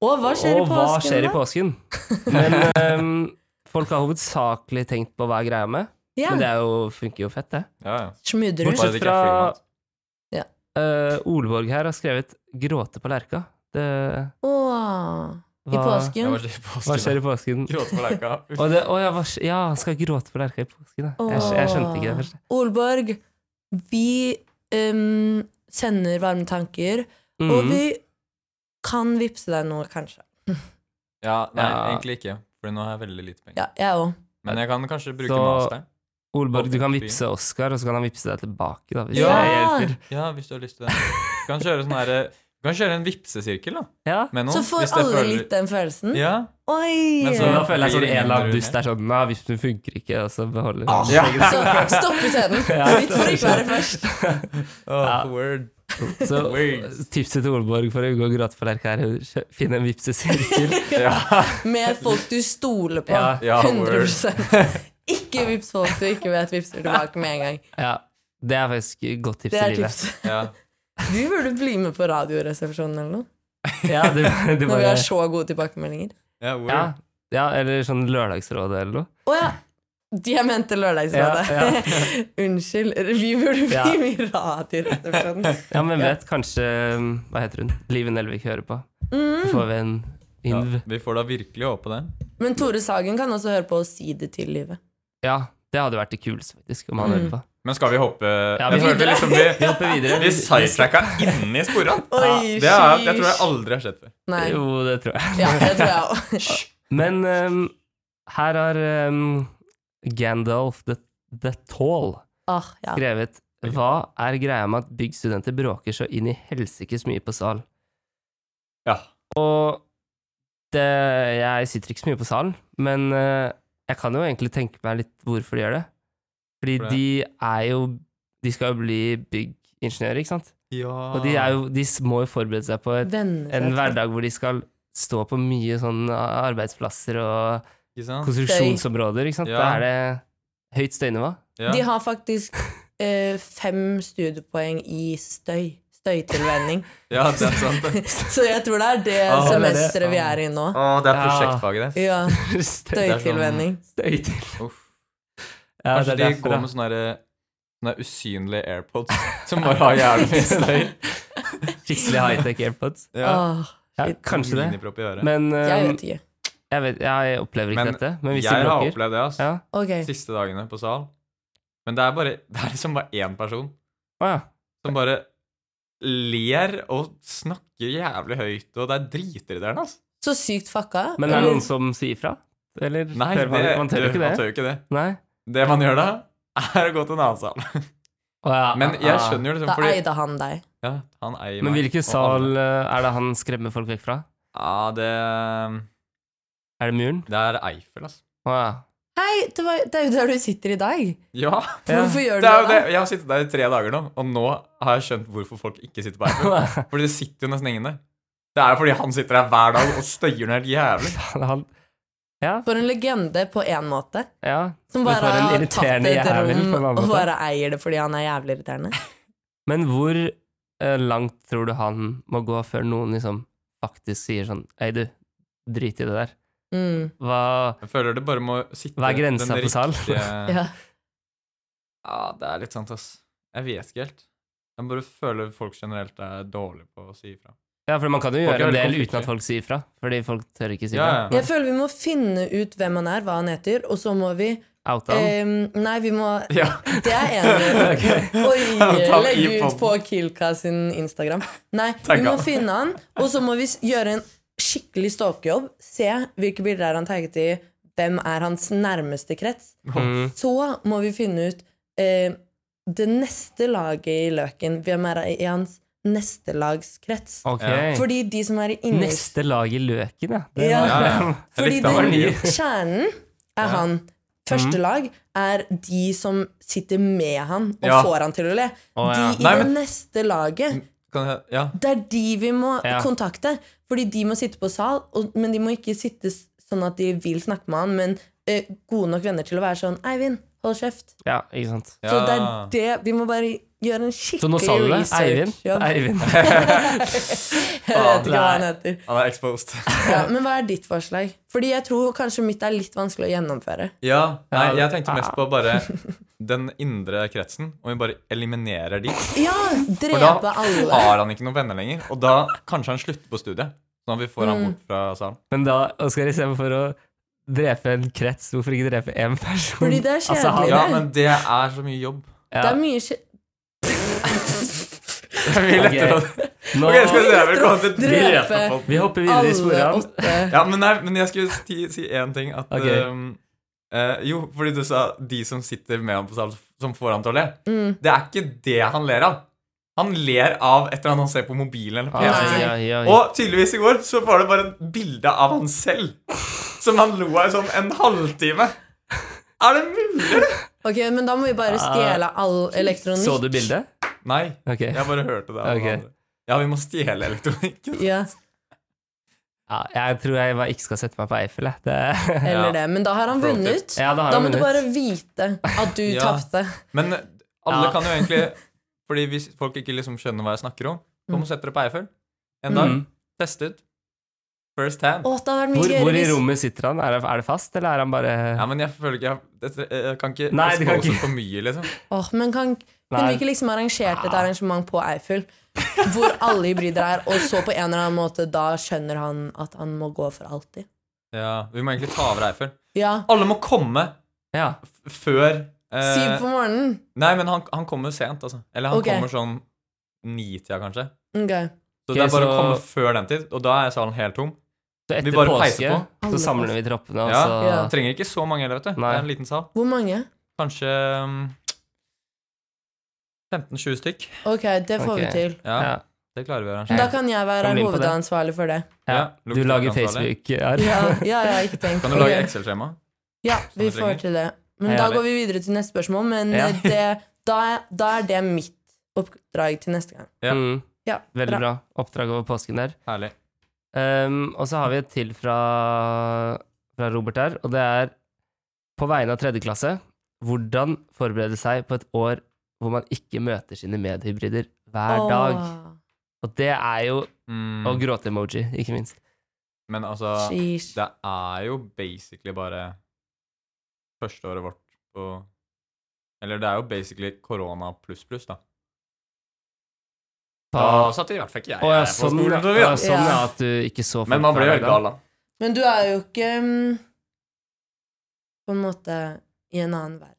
Speaker 2: Og hva skjer i
Speaker 1: og hva
Speaker 2: påsken?
Speaker 1: skjer i
Speaker 2: da?
Speaker 1: påsken?
Speaker 2: [laughs]
Speaker 1: Men ehm, folk har hovedsakelig tenkt på hva er greia med,
Speaker 2: Ja.
Speaker 1: men det er jo, funker jo fett, det.
Speaker 3: Ja, ja.
Speaker 2: Smudrer.
Speaker 3: Bortsett
Speaker 1: Bortsett
Speaker 3: fra
Speaker 1: fra
Speaker 2: Ja.
Speaker 1: Eh, Olborg her har skrevet 'gråte på lerka'. Det,
Speaker 2: Åh. I
Speaker 1: hva-
Speaker 2: påsken?
Speaker 1: Hva skjer i
Speaker 3: [laughs]
Speaker 1: påsken?
Speaker 3: Gråte på leika.
Speaker 1: Og det, å, ja, hva, sk- ja, han skal gråte på lerka i påsken. Ja. Jeg, skj- jeg skjønte ikke det først.
Speaker 2: Åh. Olborg, vi um, sender varme tanker, og
Speaker 1: Mhm.
Speaker 2: vi kan vippse deg noe, kanskje.
Speaker 3: Ja, nei,
Speaker 1: Ja.
Speaker 3: egentlig ikke. For nå har jeg veldig lite penger.
Speaker 2: Ja, jeg òg.
Speaker 3: Men jeg kan kanskje bruke
Speaker 1: Så-
Speaker 3: Master'n.
Speaker 1: Olborg, du kan vippse Oskar, og så kan han vippse deg tilbake, da, hvis
Speaker 3: Ja!
Speaker 1: det hjelper.
Speaker 3: Ja, hvis du har lyst til det. Du kan kjøre sånn herre Du kan kjøre en vippsesirkel, da.
Speaker 1: Ja.
Speaker 3: Med noen.
Speaker 2: Så får
Speaker 3: hvis det
Speaker 2: alle
Speaker 3: føler-
Speaker 2: litt den følelsen.
Speaker 3: Ja.
Speaker 2: Oi!
Speaker 3: Men
Speaker 1: Så da føler jeg
Speaker 3: Blir
Speaker 1: sånn
Speaker 3: det
Speaker 1: en eller annen
Speaker 3: mindre
Speaker 1: dust er sånn Nei, vippen funker ikke, og så beholder
Speaker 4: Ah,
Speaker 1: vi den.
Speaker 3: Ja.
Speaker 2: Så stopp i scenen.
Speaker 1: Ja,
Speaker 2: Vi får ikke være først.
Speaker 3: Oh,
Speaker 1: Ja.
Speaker 3: Word.
Speaker 1: Så
Speaker 3: Weird.
Speaker 1: tipset til Olborg for å unngå gråtforlerk her er å finn en vippsesirkel.
Speaker 2: [laughs]
Speaker 3: Ja.
Speaker 2: Med folk du stoler på.
Speaker 1: Ja,
Speaker 3: ja,
Speaker 2: 100
Speaker 3: word.
Speaker 2: Ikke vips folk du ikke vet vipser tilbake med en gang.
Speaker 1: Ja. Det er faktisk et godt tips
Speaker 2: Det
Speaker 1: i
Speaker 2: er
Speaker 1: livet.
Speaker 2: tips.
Speaker 3: ja.
Speaker 2: Du burde bli med på Radioresepsjonen eller noe.
Speaker 1: Ja, du, du
Speaker 2: Når vi
Speaker 1: bare,
Speaker 2: har så gode tilbakemeldinger.
Speaker 3: ja, word.
Speaker 1: ja, ja, eller sånn Lørdagsrådet eller noe.
Speaker 2: Å ja! De jeg mente Lørdagsrådet.
Speaker 1: Ja,
Speaker 2: [laughs] Unnskyld. Vi burde bli
Speaker 1: Ja.
Speaker 2: med i Radioresepsjonen.
Speaker 1: Ja, men vet kanskje um, Hva heter hun? Liven Elvik hører på. Så
Speaker 2: Mm.
Speaker 1: får vi en
Speaker 3: Ja,
Speaker 1: inv.
Speaker 3: vi får da virkelig håpe det.
Speaker 2: Men Tore Sagen kan også høre på og si det til livet.
Speaker 1: Ja, det hadde vært det kuleste, faktisk, om han
Speaker 2: Mm.
Speaker 1: hører på.
Speaker 3: Men skal vi hoppe
Speaker 1: Ja,
Speaker 3: Jeg
Speaker 1: vi-
Speaker 3: følte liksom vi
Speaker 1: Vi hopper videre.
Speaker 3: Vi sidetracka inni sporene!
Speaker 2: Oi,
Speaker 3: Det, er, det tror jeg
Speaker 2: sheesh.
Speaker 3: aldri har skjedd før.
Speaker 2: Nei.
Speaker 1: Jo, det tror jeg.
Speaker 2: Ja, det tror jeg
Speaker 3: [laughs]
Speaker 2: òg.
Speaker 1: [laughs] Men um, her har um, Gandalf the, the Tall
Speaker 2: Ah, ja.
Speaker 1: skrevet Hva er greia med at byggstudenter bråker så inn i helsikes mye på sal?
Speaker 3: Ja.
Speaker 1: Og det, jeg sitter ikke så mye på salen, men eh, jeg kan jo egentlig tenke meg litt hvorfor de gjør det. Fordi
Speaker 3: For det?
Speaker 1: de er jo De skal jo bli byggingeniører, ikke sant?
Speaker 3: ja.
Speaker 1: Og de, er jo, de s- må jo forberede seg på et,
Speaker 2: Venner.
Speaker 1: en hverdag hvor de skal stå på mye sånn arbeidsplasser og
Speaker 3: Ikke sant?
Speaker 1: konstruksjonsområder, ikke sant? Da
Speaker 3: Ja.
Speaker 1: er det høyt
Speaker 3: [laughs]
Speaker 1: støynivå.
Speaker 3: Ja.
Speaker 2: De har faktisk eh, fem studiepoeng i støy.
Speaker 3: [laughs]
Speaker 2: Støytilvenning.
Speaker 3: ja, det er sant.
Speaker 2: [laughs]
Speaker 3: det.
Speaker 2: Så jeg tror det er det
Speaker 3: Ah, det er det.
Speaker 2: semesteret vi er i nå.
Speaker 3: Å, det er
Speaker 1: Ja.
Speaker 3: prosjektfaget deres. [laughs]
Speaker 2: Ja,
Speaker 1: Støy.
Speaker 3: er sånn-
Speaker 2: støytilvenning.
Speaker 1: Støyt.
Speaker 3: Uff.
Speaker 1: Ja,
Speaker 3: Kanskje
Speaker 1: det er
Speaker 3: de
Speaker 1: derfor,
Speaker 3: går
Speaker 1: da.
Speaker 3: med sånne, der, sånne usynlige airpods [laughs] som bare har jævlig
Speaker 1: [laughs]
Speaker 3: mye støy.
Speaker 1: Skikkelig high-tech airpods.
Speaker 3: [laughs] Ja. Um,
Speaker 2: Åh,
Speaker 1: Ja,
Speaker 2: Shit.
Speaker 1: kanskje det.
Speaker 3: Minipropp i øret.
Speaker 1: Men eh,
Speaker 2: Ah, jeg vet ikke.
Speaker 1: jeg, vet, jeg opplever ikke
Speaker 3: Men
Speaker 1: dette. Men hvis de
Speaker 3: Jeg har
Speaker 1: bråker
Speaker 3: opplevd det, altså.
Speaker 1: Ja.
Speaker 2: Ok.
Speaker 3: Siste dagene på sal. Men det er bare Det er liksom bare én person
Speaker 1: Å ja.
Speaker 3: som bare ler og snakker jævlig høyt, og det er dritirriterende, altså.
Speaker 2: Så sykt fucka.
Speaker 1: Men er det
Speaker 2: Eller-
Speaker 1: noen som sier fra? Eller
Speaker 3: Nei,
Speaker 1: tør man,
Speaker 3: det-
Speaker 1: man tør jo ikke
Speaker 3: Man
Speaker 1: det.
Speaker 3: tør jo ikke det.
Speaker 1: Nei.
Speaker 3: Det man gjør da, er å gå til en annen sal.
Speaker 1: Å ja,
Speaker 3: Men
Speaker 1: ja.
Speaker 3: jeg skjønner jo liksom
Speaker 2: Da
Speaker 3: fordi
Speaker 2: eide han deg.
Speaker 3: ja, han eier
Speaker 1: Men
Speaker 3: meg,
Speaker 1: hvilken
Speaker 3: og
Speaker 1: sal
Speaker 3: alle.
Speaker 1: eh, er det han skremmer folk vekk fra?
Speaker 3: Ja, det
Speaker 1: Er det muren?
Speaker 3: Det er Eiffel, altså.
Speaker 1: Å ja. [laughs]
Speaker 2: Hei, det, var, det er jo der du sitter i dag.
Speaker 3: Ja!
Speaker 1: Ja.
Speaker 2: Hvorfor gjør du
Speaker 3: Det er jo det.
Speaker 2: det?
Speaker 3: Jeg har sittet der i tre dager nå, og nå har jeg skjønt hvorfor folk ikke sitter på
Speaker 2: [laughs]
Speaker 3: Eiffel. Fordi det sitter jo nesten ingen der. Det er jo fordi han sitter der hver dag og støyer ned helt jævlig.
Speaker 1: Faen, han Ja.
Speaker 2: For en legende på én måte.
Speaker 1: ja. Du
Speaker 2: Som bare
Speaker 1: får en
Speaker 2: har tatt
Speaker 1: irriterende
Speaker 2: et
Speaker 1: jævel på en
Speaker 2: rom
Speaker 1: annen
Speaker 2: og
Speaker 1: måte.
Speaker 2: bare eier det fordi han er jævlig irriterende.
Speaker 1: Men hvor eh, langt tror du han må gå før noen liksom faktisk sier sånn Hei, du, drit i det der.
Speaker 2: Mm.
Speaker 1: Hva
Speaker 3: Jeg føler det bare må sitte
Speaker 1: Hva er grensa
Speaker 3: den
Speaker 1: på
Speaker 2: [laughs]
Speaker 1: sal?
Speaker 3: riktige-
Speaker 2: Ja.
Speaker 3: Ja, det er litt sant, ass. Jeg vet ikke helt. Jeg bare føler folk generelt er dårlige på å si ifra.
Speaker 1: Ja, for man kan jo
Speaker 3: Folk er
Speaker 1: gjøre en
Speaker 3: veldig
Speaker 1: del uten
Speaker 3: konfliktfrie.
Speaker 1: at folk sier fra. Fordi folk tør ikke si
Speaker 3: Ja,
Speaker 1: fra.
Speaker 3: ja.
Speaker 2: Jeg føler vi må finne ut hvem han er, hva han heter, og så må vi
Speaker 1: Outa
Speaker 3: Eh,
Speaker 1: han.
Speaker 2: ehm, Nei, vi må
Speaker 3: Ja.
Speaker 2: [laughs] Det er jeg
Speaker 1: [laughs]
Speaker 2: enig i.
Speaker 3: Ta
Speaker 2: Oi,
Speaker 3: han i
Speaker 2: legge ut
Speaker 3: podden.
Speaker 2: på Kilka sin Instagram. Nei, vi
Speaker 3: Tagg
Speaker 2: må
Speaker 3: han.
Speaker 2: finne han, og så må vi s- gjøre en skikkelig stalkejobb. Se hvilke bilder er han tagget i, hvem er hans nærmeste krets.
Speaker 1: Mm.
Speaker 2: Så må vi finne ut eh, det neste laget i løken. Hvem er i hans neste lags krets?
Speaker 1: Ok.
Speaker 3: Ja.
Speaker 2: Fordi de som er i innerste
Speaker 1: Neste lag i løken, ja. Det
Speaker 2: Mm. Ja.
Speaker 1: var-
Speaker 3: Ja, ja. Jeg
Speaker 2: [laughs] Fordi
Speaker 3: likte han var
Speaker 1: det-
Speaker 3: ny.
Speaker 2: Kjernen er han. Første
Speaker 1: Mhm.
Speaker 2: lag er de som sitter med han og
Speaker 3: Ja.
Speaker 2: får han til å le.
Speaker 1: Å, ja. Mm.
Speaker 2: De i
Speaker 3: Nei,
Speaker 2: det
Speaker 3: men-
Speaker 2: neste laget,
Speaker 3: Kan jeg, ja.
Speaker 2: det er de vi må
Speaker 1: Ja.
Speaker 2: kontakte. Fordi de må sitte på sal, og, men de må ikke sitte s- sånn at de vil snakke med han, men eh, gode nok venner til å være sånn Eivind, hold kjeft.
Speaker 1: [laughs] ja, ikke sant.
Speaker 3: ja.
Speaker 2: Så det er det Vi må bare gjøre en
Speaker 1: Så nå
Speaker 2: skikkelig
Speaker 1: sa du det? Eivind?
Speaker 2: research-jobb.
Speaker 1: Eivind.
Speaker 2: [laughs]
Speaker 1: [laughs]
Speaker 2: Jeg vet ikke hva han heter.
Speaker 3: Han er exposed.
Speaker 2: Ja, men hva er ditt forslag? Fordi jeg tror kanskje mitt er litt vanskelig å gjennomføre.
Speaker 3: Ja, nei,
Speaker 1: Ja,
Speaker 3: jeg tenkte mest på bare den indre kretsen, og vi bare eliminerer [laughs] de.
Speaker 2: Ja,
Speaker 3: For da
Speaker 2: drepe alle.
Speaker 3: har han ikke noen venner lenger, og da kanskje han slutter på studiet. Sånn at vi får han bort fra salen.
Speaker 1: Men da, Oskar, istedenfor å drepe en krets, hvorfor ikke drepe én person?
Speaker 2: Fordi det er
Speaker 1: Altså, han-
Speaker 2: kjedelig.
Speaker 3: Ja, men det er så mye jobb.
Speaker 1: Ja.
Speaker 2: Det er mye skje...
Speaker 3: [laughs] Det er mye lettere å-
Speaker 1: Nå,
Speaker 3: [laughs] Ok, skal dere velkommen til
Speaker 2: Drepe.
Speaker 3: Drepepodden.
Speaker 1: vi hopper videre i
Speaker 2: Alle
Speaker 1: sporene.
Speaker 2: åtte.
Speaker 3: Ja, men, nei, men jeg skulle si, si én ting. At,
Speaker 1: Ok.
Speaker 3: ehm, eh, jo, fordi du sa de som sitter med ham på sal, som får ham til å le.
Speaker 2: Mm.
Speaker 3: Det er ikke det han ler av. Han ler av et eller annet han ser på mobilen eller
Speaker 1: Ai,
Speaker 3: PC-en.
Speaker 1: ai, ai.
Speaker 3: Og tydeligvis i går så var det bare et bilde av han selv. Som han lo av i sånn en halvtime. Er det mulig?
Speaker 2: Ok, men da må vi bare stjele all
Speaker 1: Ah.
Speaker 2: elektronikk.
Speaker 1: Så du bildet?
Speaker 3: Nei,
Speaker 1: Ok.
Speaker 3: jeg bare hørte det. av
Speaker 1: Ok.
Speaker 3: noen andre. Ja, vi må stjele elektronikken.
Speaker 2: Ja,
Speaker 1: Ja, jeg tror jeg bare ikke skal sette meg på Eiffel. jeg. Det,
Speaker 2: [laughs] eller
Speaker 3: Ja.
Speaker 2: det. Men da har han
Speaker 3: Pro tip.
Speaker 2: vunnet.
Speaker 1: ja, da har
Speaker 2: Da
Speaker 1: jeg
Speaker 2: må du
Speaker 1: vunnet.
Speaker 2: bare vite at du
Speaker 3: Ja.
Speaker 2: tapte.
Speaker 3: Men alle
Speaker 1: Ja.
Speaker 3: kan jo egentlig Fordi hvis folk ikke liksom skjønner hva jeg snakker om, kom og sett dere på Eiffel. En dag.
Speaker 1: Mm.
Speaker 3: Test ut. First hand.
Speaker 2: Å, det hadde vært mye
Speaker 1: Hvor, hvor i
Speaker 2: gøyere hvis
Speaker 1: rommet sitter han? Er, det- er det fast, eller er han bare
Speaker 3: Ja, men jeg føler ikke Jeg, dette- jeg kan ikke
Speaker 1: Nei, du kan
Speaker 3: expose
Speaker 1: ikke.
Speaker 3: for mye, liksom.
Speaker 2: Åh, men kan, kunne
Speaker 1: Nei. Ah.
Speaker 2: vi ikke liksom arrangert et arrangement på Eiffel? Hvor alle hybrider er, og så på en eller annen måte da skjønner han at han må gå for alltid.
Speaker 3: Ja, Vi må egentlig ta over Eiffel.
Speaker 2: Ja.
Speaker 3: Alle må komme
Speaker 1: Ja.
Speaker 3: f- før eh,
Speaker 2: Syv på morgenen.
Speaker 3: Nei, men han, han kommer sent, altså. Eller han
Speaker 2: Ok.
Speaker 3: kommer sånn nitida, kanskje.
Speaker 2: Ok.
Speaker 3: Så
Speaker 1: Ok,
Speaker 3: det er bare å
Speaker 1: så-
Speaker 3: komme før den tid, og da er salen helt tom.
Speaker 1: Så etter
Speaker 3: Vi bare peiser
Speaker 1: påske
Speaker 2: på.
Speaker 1: så samler vi troppene, og
Speaker 3: Ja.
Speaker 1: så
Speaker 2: Ja.
Speaker 3: Trenger ikke så mange heller, vet du.
Speaker 1: Nei.
Speaker 3: Det er en liten sal.
Speaker 2: Hvor mange?
Speaker 3: Kanskje mm, 15-20 stykk.
Speaker 2: Ok, det får
Speaker 1: Ok.
Speaker 2: vi til.
Speaker 3: Ja,
Speaker 1: Ja.
Speaker 3: det klarer vi å
Speaker 2: Men
Speaker 3: arrangere.
Speaker 2: Da kan jeg være
Speaker 1: Kan bli med på det.
Speaker 2: hovedansvarlig for det.
Speaker 1: Ja.
Speaker 3: Ja,
Speaker 1: Du
Speaker 3: lukter
Speaker 1: lager
Speaker 3: ansvarlig.
Speaker 1: Facebook her.
Speaker 2: Ja, ja jeg har ikke tenkt
Speaker 3: Kan du
Speaker 2: på
Speaker 3: lage
Speaker 2: det.
Speaker 3: Excel-skjema?
Speaker 2: Ja, vi
Speaker 3: du trenger?
Speaker 2: får til det. Men
Speaker 1: Ja,
Speaker 2: da
Speaker 1: herlig.
Speaker 2: går vi videre til neste spørsmål, men
Speaker 1: Ja.
Speaker 2: eh, det, da, er- da er det mitt oppdrag til neste gang.
Speaker 3: Ja.
Speaker 1: Mm.
Speaker 2: Ja,
Speaker 1: Veldig
Speaker 2: bra.
Speaker 1: bra. Oppdrag over påsken der.
Speaker 3: Herlig.
Speaker 1: Um, og så har vi et til fra, fra Robert her, og det er på vegne av tredje klasse hvordan forberede seg på et år hvor man ikke møter sine medhybrider hver dag.
Speaker 2: Åh,
Speaker 1: Og det er jo
Speaker 3: Mm,
Speaker 1: Og gråte-emoji, ikke minst.
Speaker 3: men altså,
Speaker 2: sheesh.
Speaker 3: det er jo basically bare førsteåret vårt på Eller det er jo basically korona pluss pluss, da. Da
Speaker 1: Å
Speaker 3: satt i hvert fall ikke jeg
Speaker 1: ja,
Speaker 3: på
Speaker 1: sånn,
Speaker 3: skolen,
Speaker 1: ja,
Speaker 3: tror jeg.
Speaker 1: Å, ja, sånn ja,
Speaker 2: Ja.
Speaker 1: at du ikke så
Speaker 3: Men man
Speaker 1: folk
Speaker 3: blir
Speaker 1: hver
Speaker 3: jo helt
Speaker 1: dag,
Speaker 3: gal, da.
Speaker 2: Men du er jo ikke mm, på en måte i en annen verden.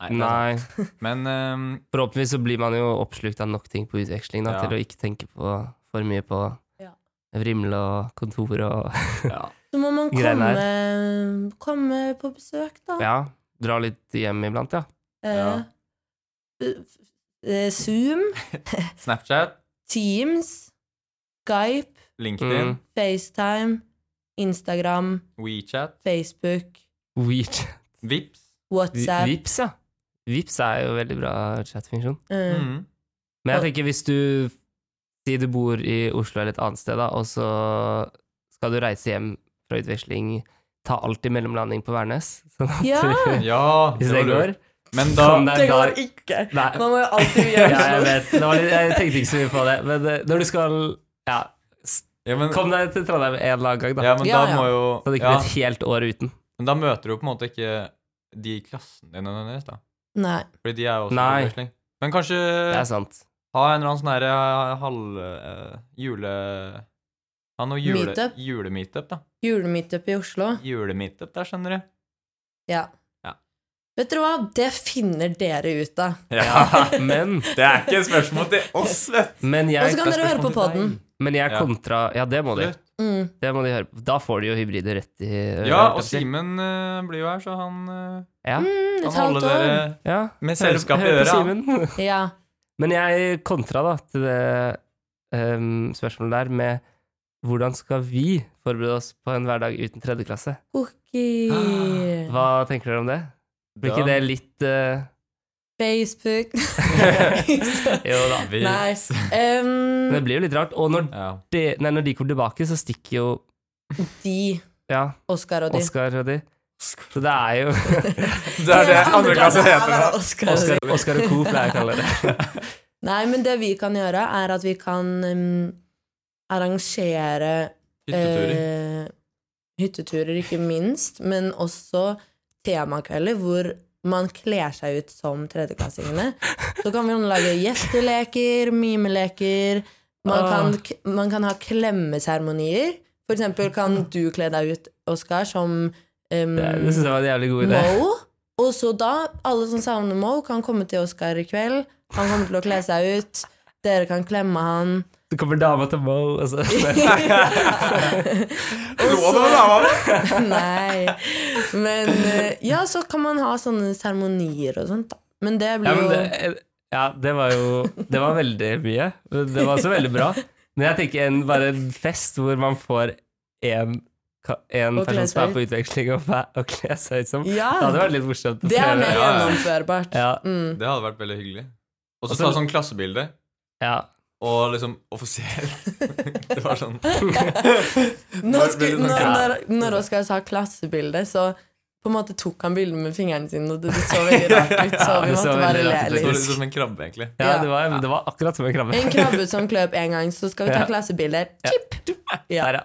Speaker 1: da. Nei.
Speaker 3: Men ehm,
Speaker 1: [laughs] Forhåpentligvis så blir man jo oppslukt av nok ting på utveksling da,
Speaker 3: Ja.
Speaker 1: til å ikke tenke på for mye på
Speaker 2: Ja.
Speaker 1: vrimle og kontor og
Speaker 3: ja.
Speaker 2: Så må man
Speaker 1: Greiene
Speaker 2: komme, komme på besøk, da.
Speaker 1: Ja, dra litt hjem iblant, ja.
Speaker 2: Eh,
Speaker 3: Ja.
Speaker 2: f- f- eh, Zoom,
Speaker 3: Snapchat,
Speaker 2: Teams, Skype,
Speaker 3: LinkedIn,
Speaker 1: Mm.
Speaker 2: FaceTime, Instagram,
Speaker 3: WeChat,
Speaker 2: Facebook,
Speaker 1: Weech.
Speaker 3: Vips
Speaker 2: WhatsApp.
Speaker 1: Vips, ja. Vips er jo veldig bra chatfunksjon.
Speaker 2: eh,
Speaker 3: mm.
Speaker 1: Men jeg tenker hvis du Si du bor i Oslo eller et annet sted, da, og så skal du reise hjem fra utveksling, ta alltid mellomlanding på Værnes. [laughs] Sånn at
Speaker 2: Ja.
Speaker 1: du,
Speaker 3: Mm. Ja,
Speaker 1: hvis det
Speaker 3: var lurt.
Speaker 1: går.
Speaker 3: Men da
Speaker 1: Sånn der.
Speaker 2: Det går ikke!
Speaker 1: Nei,
Speaker 2: Man må jo alltid
Speaker 1: ja,
Speaker 2: gjøre
Speaker 1: jeg
Speaker 2: sånn.
Speaker 1: vet. Det var litt, jeg tenkte ikke så mye på det. Men eh, når du skal Ja,
Speaker 3: ja, men,
Speaker 1: kom deg til Trondheim en eller annen gang, da.
Speaker 3: ja, men
Speaker 2: Ja,
Speaker 3: da
Speaker 2: ja.
Speaker 3: må jo
Speaker 1: Så det ikke
Speaker 3: ja,
Speaker 1: blir et helt år uten.
Speaker 3: Men da møter du på en måte ikke de i klassen din nødvendigvis, da.
Speaker 2: Nei.
Speaker 3: Fordi de er jo også
Speaker 1: Nei.
Speaker 3: på wrestling. Men kanskje
Speaker 1: Det er sant.
Speaker 3: ha en eller annen sånn herre halv... eh, jule... Ha noe jule,
Speaker 2: Meetup?
Speaker 3: julemeetup, da.
Speaker 2: Julemeetup i Oslo.
Speaker 3: Julemeetup der, skjønner du.
Speaker 1: [laughs]
Speaker 2: Ja.
Speaker 3: Ja.
Speaker 2: Vet dere hva? Det finner dere ut av.
Speaker 3: Ja,
Speaker 1: Men,
Speaker 3: Det er ikke et spørsmål til oss, vet du.
Speaker 1: men
Speaker 2: Og så
Speaker 1: jeg,
Speaker 2: kan dere høre på
Speaker 3: spørsmål til
Speaker 2: podden.
Speaker 1: men jeg
Speaker 3: Ja.
Speaker 1: kontra Ja, det må de.
Speaker 3: Slutt.
Speaker 2: Mm.
Speaker 1: Det må de høre på. Da får de jo hybride rett i
Speaker 3: Ja, og Simen eh, blir jo her, så han eh,
Speaker 1: Ja.
Speaker 2: Mm,
Speaker 3: kan
Speaker 2: et
Speaker 3: holde
Speaker 2: halvt år.
Speaker 3: dere
Speaker 1: ja.
Speaker 3: med
Speaker 1: Høre-
Speaker 3: selskap i
Speaker 1: høre på
Speaker 3: øra. han.
Speaker 1: Simen. [laughs]
Speaker 2: Ja.
Speaker 1: Men jeg kontra da til det ehm, spørsmålet der med hvordan skal vi forberede oss på en hverdag uten tredje klasse?
Speaker 2: Cookie.
Speaker 3: [gasps]
Speaker 1: Hva tenker dere om det? Blir ikke
Speaker 3: Da-
Speaker 1: det litt eh,
Speaker 3: [laughs]
Speaker 2: Facebook. [laughs]
Speaker 1: Jo da.
Speaker 3: Vi-
Speaker 2: Nei.
Speaker 1: Men det
Speaker 2: Um,
Speaker 1: blir jo litt rart. Og når
Speaker 3: Ja.
Speaker 1: de, nei, når de kommer tilbake, så stikker jo
Speaker 2: de.
Speaker 1: ja,
Speaker 2: Oscar og de.
Speaker 1: Oskar og de. Så det er jo
Speaker 3: Det er det andre klasse heter.
Speaker 2: Ja,
Speaker 3: da.
Speaker 2: Oscar og de.
Speaker 1: Oskar, Oskar og Co. pleier jeg å kalle det.
Speaker 2: [laughs] Nei, men det vi kan gjøre, er at vi kan um, arrangere
Speaker 3: Hytteturer.
Speaker 2: Eh, hytteturer, ikke minst, men også temakvelder hvor man kler seg ut som tredjeklassingene. Så kan man lage gjesteleker, mimeleker. Man kan, k- man kan ha klemmeseremonier. For eksempel kan du kle deg ut, Oskar, som em,
Speaker 1: Det, det syns jeg var en jævlig god idé.
Speaker 2: Mo. Og så da, alle som savner Mo, kan komme til Oskar i kveld. Han kommer til å kle seg ut. Dere kan klemme han.
Speaker 1: Så kommer dama til Mo, og
Speaker 2: [laughs]
Speaker 1: så
Speaker 3: Lå det med dama?
Speaker 2: [laughs] Nei. Men eh, ja, så kan man ha sånne seremonier og sånt, da. Men det
Speaker 1: Ja,
Speaker 2: blir
Speaker 1: men
Speaker 2: jo
Speaker 1: det, ja, det var jo Det var veldig mye. men Det var også veldig bra. Men jeg tenker en, bare en fest hvor man får én
Speaker 2: Og kle
Speaker 1: person som
Speaker 2: seg
Speaker 1: er på utveksling, og, væ- og kle seg ut som.
Speaker 2: Ja!
Speaker 1: Det hadde vært litt morsomt. å
Speaker 2: Det er
Speaker 1: prøve.
Speaker 2: mer
Speaker 3: Ja, ja.
Speaker 2: gjennomførbart.
Speaker 1: ja,
Speaker 2: Mm.
Speaker 3: Det hadde vært veldig hyggelig. Og så
Speaker 1: Og så-
Speaker 3: ta sånn klassebilde,
Speaker 1: ja.
Speaker 3: og liksom
Speaker 2: [laughs]
Speaker 3: offisielt. Det var sånn
Speaker 2: Nå
Speaker 3: Når
Speaker 2: skulle,
Speaker 3: blir det
Speaker 2: når,
Speaker 1: sånn?
Speaker 2: når, når Oskar sa klassebilde, så på en måte tok han bildet med fingrene sine, og det, det så veldig rart ut,
Speaker 1: [laughs]
Speaker 2: så
Speaker 1: Ja,
Speaker 2: vi
Speaker 1: det så
Speaker 2: måtte bare
Speaker 1: veldig
Speaker 2: le
Speaker 1: rart ut,
Speaker 3: Det var
Speaker 2: litt.
Speaker 3: litt som en krabbe, egentlig.
Speaker 1: ja
Speaker 2: Ja.
Speaker 1: det, var, det var akkurat som en krabbe.
Speaker 2: En krabbe som kløp en gang, så skal vi ta
Speaker 1: Ja.
Speaker 2: klassebilder. Chip! Ja,
Speaker 1: Der, ja.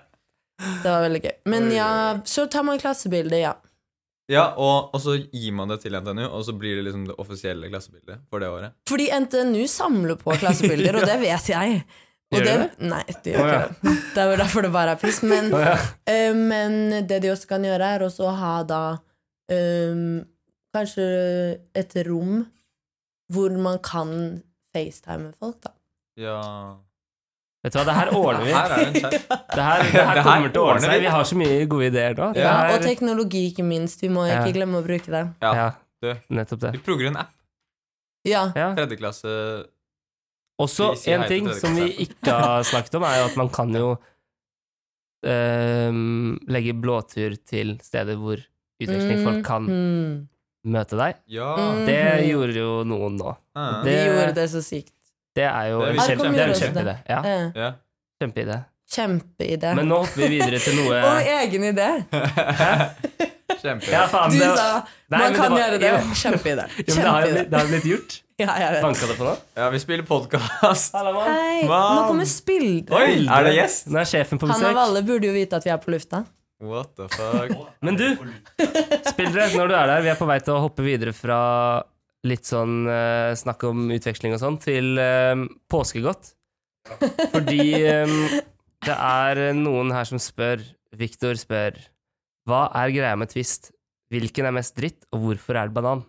Speaker 2: det var veldig gøy. Men ja, så tar man klassebilde, ja.
Speaker 3: Ja, og, og så gir man det til NTNU, og så blir det liksom det offisielle klassebildet for det året.
Speaker 2: Fordi NTNU samler på
Speaker 1: [laughs]
Speaker 2: klassebilder, og det vet jeg. Og
Speaker 1: Gjør
Speaker 2: det,
Speaker 1: de
Speaker 2: nei, de gjør
Speaker 1: Å, ja.
Speaker 2: ikke det. Det er jo derfor det bare er piss. Men,
Speaker 1: Å, ja.
Speaker 2: eh, men det de også kan gjøre, er også å ha da eh, kanskje et rom hvor man kan facetime folk, da.
Speaker 3: Ja
Speaker 1: Vet du hva, det her
Speaker 3: Det
Speaker 1: ordner vi.
Speaker 3: her er en skjerm.
Speaker 1: Det her, det her
Speaker 3: Det
Speaker 1: kommer
Speaker 3: her
Speaker 1: til å ordne
Speaker 3: ordner
Speaker 1: seg.
Speaker 3: vi.
Speaker 1: Vi har så mye gode ideer nå. Det
Speaker 2: Ja, og
Speaker 1: her-
Speaker 2: teknologi, ikke minst. Vi må
Speaker 1: Ja.
Speaker 2: ikke glemme å bruke det.
Speaker 3: Ja.
Speaker 1: ja,
Speaker 3: Du.
Speaker 1: nettopp det.
Speaker 3: Vi plugger en app.
Speaker 2: Ja,
Speaker 1: Ja.
Speaker 3: Tredjeklasse
Speaker 1: Også
Speaker 3: Vi sier
Speaker 1: en
Speaker 3: hei til
Speaker 1: ting
Speaker 3: dere,
Speaker 1: som vi
Speaker 3: kanskje.
Speaker 1: ikke har snakket om, er jo at man kan
Speaker 3: [laughs]
Speaker 1: jo ehm, legge blåtur til steder hvor utvekslingsfolk kan
Speaker 2: Mhm.
Speaker 1: møte deg.
Speaker 3: Ja.
Speaker 2: Mm.
Speaker 1: Det
Speaker 2: Mhm.
Speaker 1: gjorde jo noen nå.
Speaker 3: Ah.
Speaker 2: Vi
Speaker 1: Det-
Speaker 2: gjorde det så sykt.
Speaker 1: Det er jo
Speaker 3: Det er
Speaker 1: en
Speaker 3: vi-
Speaker 1: kjempe-
Speaker 2: Her kommer
Speaker 1: det er
Speaker 2: vi
Speaker 1: en
Speaker 2: også til.
Speaker 1: kjempeidé. Ja,
Speaker 2: Eh,
Speaker 3: Ja.
Speaker 1: kjempeidé.
Speaker 2: Kjempeidé.
Speaker 1: Men nå hopper vi videre til noe
Speaker 2: [laughs] Og egen idé!
Speaker 3: Kjempe.
Speaker 1: Ja, faen,
Speaker 2: Du
Speaker 1: det-
Speaker 2: sa
Speaker 1: Nei,
Speaker 2: man
Speaker 1: men
Speaker 2: kan
Speaker 1: var-
Speaker 2: gjøre det.
Speaker 1: Jo,
Speaker 2: Kjempeidé.
Speaker 1: [laughs] jo, men det har jo
Speaker 2: Kjempeidé.
Speaker 1: blitt- det har jo blitt gjort.
Speaker 2: Ja, jeg vet.
Speaker 1: Banka det på nå?
Speaker 3: Ja, vi spiller podkast.
Speaker 1: Hallo, mann.
Speaker 2: Hei,
Speaker 3: Wow.
Speaker 2: nå kommer spillet.
Speaker 3: Oi, er det gjest?
Speaker 1: Nå er sjefen på
Speaker 2: Han av
Speaker 1: besøk.
Speaker 2: alle burde jo vite at vi er på lufta.
Speaker 3: What the fuck?
Speaker 1: Men du, spillere, når du er der, vi er på vei til å hoppe videre fra litt sånn eh, snakk om utveksling og sånn, til eh, påskegodt. Fordi eh, det er noen her som spør, Victor spør, hva er greia med twist? Hvilken er mest dritt, og hvorfor er det banan?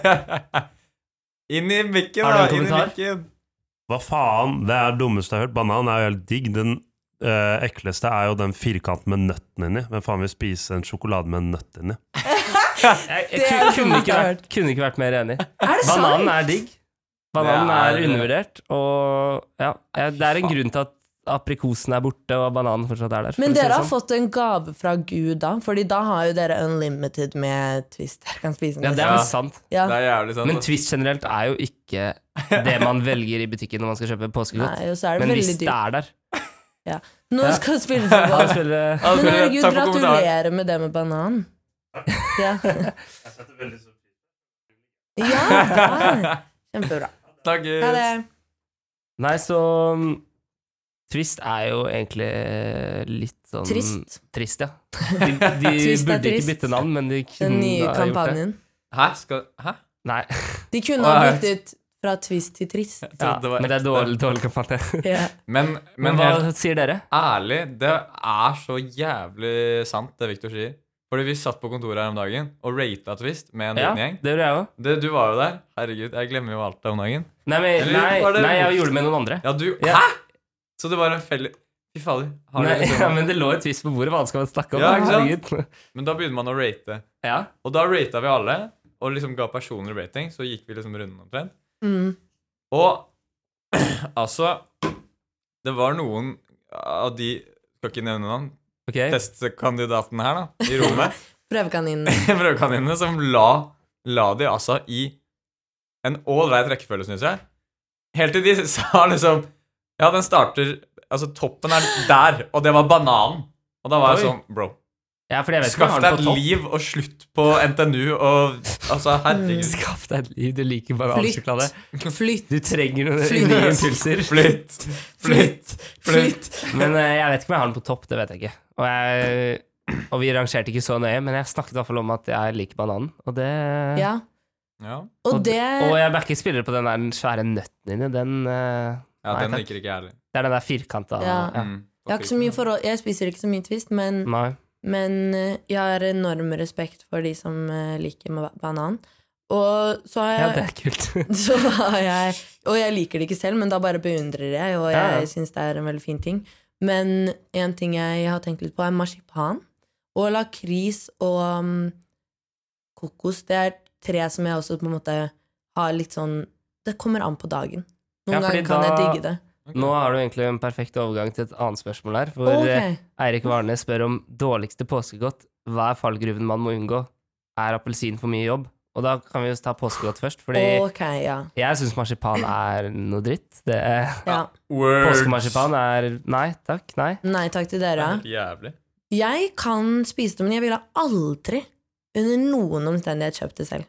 Speaker 3: [laughs] Inn i mikken,
Speaker 1: Har du
Speaker 3: da.
Speaker 1: en
Speaker 3: Inn i
Speaker 1: kommentar?
Speaker 3: mikken.
Speaker 5: Hva faen? Det er det dummeste jeg har hørt. Banan er jo helt digg. Den eh, ekleste er jo den firkanten med nøtten inni. Hvem faen vil spise en sjokolade med en nøtt inni?
Speaker 1: Jeg,
Speaker 2: Det
Speaker 1: jeg,
Speaker 2: er det
Speaker 1: kunne,
Speaker 2: dummeste jeg
Speaker 1: ikke
Speaker 2: har
Speaker 1: vært, kunne ikke vært mer enig.
Speaker 2: Er det sant?
Speaker 1: Bananen er digg. Bananen er,
Speaker 3: Det er-
Speaker 1: undervurdert, og ja, jeg- det er en
Speaker 3: Faen.
Speaker 1: grunn til at aprikosen er borte, og bananen fortsatt er der. for å
Speaker 2: Men
Speaker 1: si det
Speaker 2: dere har
Speaker 1: sånn.
Speaker 2: fått en gave fra Gud, da? Fordi da har jo dere unlimited med twist. Dere kan spise
Speaker 1: Ja,
Speaker 2: den.
Speaker 1: det er
Speaker 3: Ja.
Speaker 1: vel sant.
Speaker 2: Ja.
Speaker 3: Det er jævlig sant. altså.
Speaker 1: Men
Speaker 3: ass.
Speaker 1: Twist generelt er jo ikke det man velger i butikken når man skal kjøpe påskegodt.
Speaker 2: Nei, og så er det
Speaker 1: Men hvis
Speaker 2: veldig
Speaker 1: det
Speaker 2: dyrt.
Speaker 1: er der
Speaker 2: Nå skal spillet
Speaker 1: [laughs]
Speaker 2: få
Speaker 1: Da
Speaker 2: gå.
Speaker 1: spiller
Speaker 3: Ja,
Speaker 2: Men
Speaker 3: skal du-
Speaker 2: herregud,
Speaker 3: takk for kommentaren.
Speaker 2: gratulerer med det med banan.
Speaker 1: [laughs]
Speaker 2: Ja.
Speaker 5: Hva
Speaker 2: ja ja.
Speaker 1: [laughs]
Speaker 2: Kjempebra.
Speaker 3: Takk.
Speaker 2: Ha det.
Speaker 1: Nei, så mm, Twist er jo egentlig litt sånn
Speaker 2: Trist.
Speaker 1: Trist,
Speaker 2: [laughs]
Speaker 1: ja. De, de
Speaker 2: Twist er
Speaker 1: burde ikke
Speaker 2: trist.
Speaker 1: bytte navn, men de kunne
Speaker 2: Den nye
Speaker 1: ha gjort det.
Speaker 2: kampanjen.
Speaker 3: Hæ? Skal Hæ?
Speaker 1: Nei,
Speaker 3: [laughs]
Speaker 2: De kunne
Speaker 3: Å,
Speaker 2: ha
Speaker 3: ja.
Speaker 2: byttet ut fra twist til trist.
Speaker 3: Jeg
Speaker 1: ja,
Speaker 3: trodde det var
Speaker 1: men det er
Speaker 3: ekte.
Speaker 1: dårlig, dårlig kampanje.
Speaker 2: Ja.
Speaker 3: Men,
Speaker 1: Men
Speaker 3: men
Speaker 1: hva
Speaker 3: helt
Speaker 1: sier dere?
Speaker 3: ærlig, det er så jævlig sant, det Victor sier. Fordi vi satt på kontoret her om dagen og rata Twist med en
Speaker 1: Ja,
Speaker 3: liten
Speaker 1: det
Speaker 3: gjeng.
Speaker 1: gjorde jeg òg.
Speaker 3: Det, du var jo der. Herregud, jeg glemmer jo alt det om dagen.
Speaker 1: Nei, men-
Speaker 3: Eller
Speaker 1: nei,
Speaker 3: var det-
Speaker 1: nei, jeg gjorde det med noen andre.
Speaker 3: Ja, du
Speaker 1: Ja.
Speaker 3: Hæ?! Så det var en felle... Fy fader. har
Speaker 1: Nei,
Speaker 3: dere
Speaker 1: [laughs]
Speaker 3: liksom-
Speaker 1: ja, men det lå et twist på bordet, hva annet skal man snakke om?
Speaker 3: Ja,
Speaker 1: da?
Speaker 3: ikke
Speaker 1: Herregud.
Speaker 3: Men da begynner man å rate.
Speaker 1: Ja.
Speaker 3: Og da rata vi alle, og liksom ga personlig rating. Så gikk vi liksom runden omtrent.
Speaker 2: Mm.
Speaker 3: Og [clears throat] altså Det var noen av de Skal ikke nevne navn.
Speaker 1: Ok.
Speaker 3: Testkandidatene her, da, i rommet, [laughs]
Speaker 2: Prøvekaninen.
Speaker 3: prøvekaninene, som la, la de altså i en ålreit rekkefølge, syns jeg. Helt til de [laughs] sa liksom Ja, den starter Altså, toppen er der, og det var bananen. Og da var jeg
Speaker 1: Oi.
Speaker 3: sånn, bro
Speaker 1: Ja, fordi jeg vet ikke om jeg
Speaker 3: Skaff
Speaker 1: har
Speaker 3: deg
Speaker 1: den
Speaker 3: et
Speaker 1: på topp.
Speaker 3: liv og slutt på NTNU og
Speaker 1: [laughs]
Speaker 3: Altså, herregud.
Speaker 1: Skaff deg et liv, du liker banansjokolade.
Speaker 2: Flytt.
Speaker 1: Du trenger noen
Speaker 2: Flytt.
Speaker 1: nye impulser.
Speaker 3: Flytt, flytt, flytt.
Speaker 1: Men eh, jeg vet ikke om jeg har den på topp, det vet jeg ikke. Og, jeg, og vi rangerte ikke så nøye, men jeg snakket i hvert fall om at jeg liker bananen. Og det
Speaker 2: Ja.
Speaker 3: Ja,
Speaker 2: Og
Speaker 1: Og
Speaker 2: det
Speaker 1: Og jeg backer spillere på den der svære nøtten inni. Den eh,
Speaker 3: ja
Speaker 1: Nei,
Speaker 3: den
Speaker 1: takk.
Speaker 3: liker ikke jeg heller.
Speaker 1: Det er den der firkanta
Speaker 2: Ja.
Speaker 1: ja.
Speaker 3: Mm.
Speaker 2: Jeg har ikke så mye forhold Jeg spiser ikke så mye twist, men,
Speaker 1: Nei.
Speaker 2: men eh, jeg har enorm respekt for de som eh, liker ma- banan. Og så har
Speaker 1: Ja,
Speaker 2: jeg
Speaker 1: det er kult.
Speaker 2: [laughs] så har jeg, og jeg liker det ikke selv, men da bare beundrer jeg, og jeg
Speaker 1: Ja, ja.
Speaker 2: syns det er en veldig fin ting. Men en ting jeg har tenkt litt på, er marsipan. Og lakris og um, kokos. Det er tre som jeg også på en måte har litt sånn Det kommer an på dagen. Noen
Speaker 1: Ja, fordi
Speaker 2: ganger kan jeg
Speaker 1: da-
Speaker 2: digge det.
Speaker 3: [laughs] Ok.
Speaker 1: Nå har du egentlig en perfekt overgang til et annet spørsmål her. For
Speaker 2: Ok,
Speaker 1: eh, Eirik Varnes spør om dårligste påskegodt. Hva er fallgruven man må unngå? Er appelsin for mye jobb? Og da kan vi jo ta påskegodt først, fordi
Speaker 2: ok, ja.
Speaker 1: jeg syns marsipan er noe dritt. Det er,
Speaker 2: ja.
Speaker 1: påskemarsipan er Nei takk, nei.
Speaker 2: Nei takk til dere.
Speaker 3: Helt Jævlig.
Speaker 2: Jeg kan spise det, men jeg ville aldri under noen omstendighet kjøpt det selv.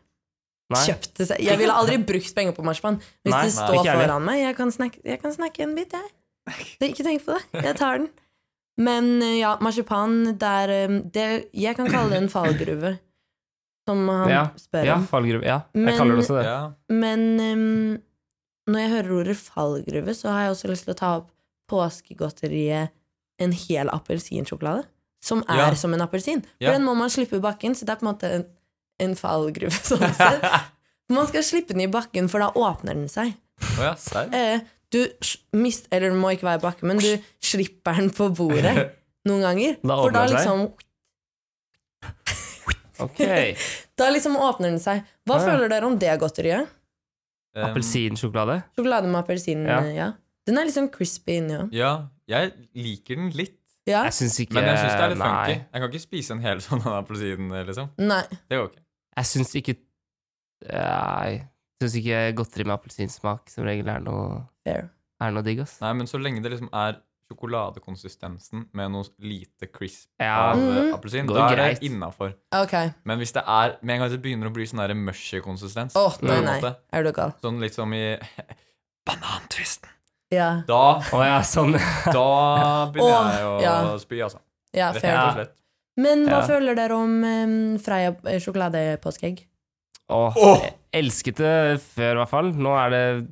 Speaker 1: nei.
Speaker 2: Kjøpt det selv. Jeg ville aldri brukt penger på marsipan. Hvis
Speaker 1: Nei,
Speaker 2: det
Speaker 1: nei,
Speaker 2: står
Speaker 1: ikke jeg
Speaker 2: foran meg, jeg kan, snakke, jeg kan snakke en bit,
Speaker 1: [laughs]
Speaker 2: jeg. Det- Ikke tenk på det. Jeg tar den. Men eh, ja, marsipan, det er eh, det, Jeg kan kalle det en fallgruve, som han
Speaker 1: Ja,
Speaker 2: spør
Speaker 1: Ja,
Speaker 2: om.
Speaker 1: fallgruve. Ja,
Speaker 2: Men-
Speaker 1: jeg kaller det også det.
Speaker 3: Ja.
Speaker 2: Men eh, når jeg hører ordet fallgruve, så har jeg også lyst til å ta opp påskegodteriet en hel appelsinsjokolade. Som er
Speaker 3: Ja.
Speaker 2: som en appelsin. For
Speaker 3: Ja.
Speaker 2: den må man slippe i bakken, så det er på en måte en, en fallgruve. sånn
Speaker 1: [laughs]
Speaker 2: sett. Man skal slippe den i bakken, for da åpner den seg.
Speaker 3: Å ja, serr?
Speaker 2: Eh, du s- mist, eller den må ikke være i bakken, men du slipper den på
Speaker 1: [laughs]
Speaker 2: bordet noen ganger.
Speaker 1: Da
Speaker 2: for da
Speaker 1: åpner den seg?
Speaker 2: liksom,
Speaker 3: [laughs]
Speaker 1: Ok.
Speaker 2: da liksom åpner den seg. Hva
Speaker 1: Ah, ja.
Speaker 2: føler dere om det godteriet?
Speaker 3: Um,
Speaker 1: Appelsinsjokolade.
Speaker 2: Sjokolade med appelsin,
Speaker 1: Ja.
Speaker 2: ja. Den er litt sånn crispy inni òg.
Speaker 3: Ja, jeg liker den litt,
Speaker 2: Ja?
Speaker 1: Jeg syns ikke
Speaker 3: men jeg syns det er litt
Speaker 1: nei.
Speaker 3: funky. Jeg kan ikke spise en hel [laughs] sånn appelsin, liksom.
Speaker 2: Nei.
Speaker 3: Det går ikke.
Speaker 1: Jeg syns ikke Nei. Syns ikke godteri med appelsinsmak som regel er noe,
Speaker 2: Fair.
Speaker 1: er noe digg, ass.
Speaker 3: Nei, men så lenge det liksom er sjokoladekonsistensen med noe lite crisp
Speaker 1: Ja.
Speaker 3: av eh,
Speaker 2: Mhm.
Speaker 3: appelsin,
Speaker 1: Går
Speaker 3: da er
Speaker 1: greit.
Speaker 3: det innafor.
Speaker 2: Ok.
Speaker 3: Men hvis det er med en gang det begynner å bli sånn der mushy konsistens
Speaker 2: Å,
Speaker 3: på
Speaker 2: nei,
Speaker 3: en
Speaker 2: nei.
Speaker 3: måte,
Speaker 2: Er du gal?
Speaker 3: Sånn litt som i [laughs] Banantvisten.
Speaker 2: Ja.
Speaker 3: Da,
Speaker 1: Å ja, sånn.
Speaker 3: da begynner
Speaker 2: Åh,
Speaker 3: jeg å
Speaker 2: ja.
Speaker 3: spy, altså.
Speaker 2: ja,
Speaker 3: Rett
Speaker 2: fair.
Speaker 3: og slett.
Speaker 2: Men hva
Speaker 1: Ja.
Speaker 2: føler dere om em, Freia eh, sjokoladepåskeegg?
Speaker 1: Åh,
Speaker 3: Åh!
Speaker 1: jeg elsket det før, i hvert fall. Nå er det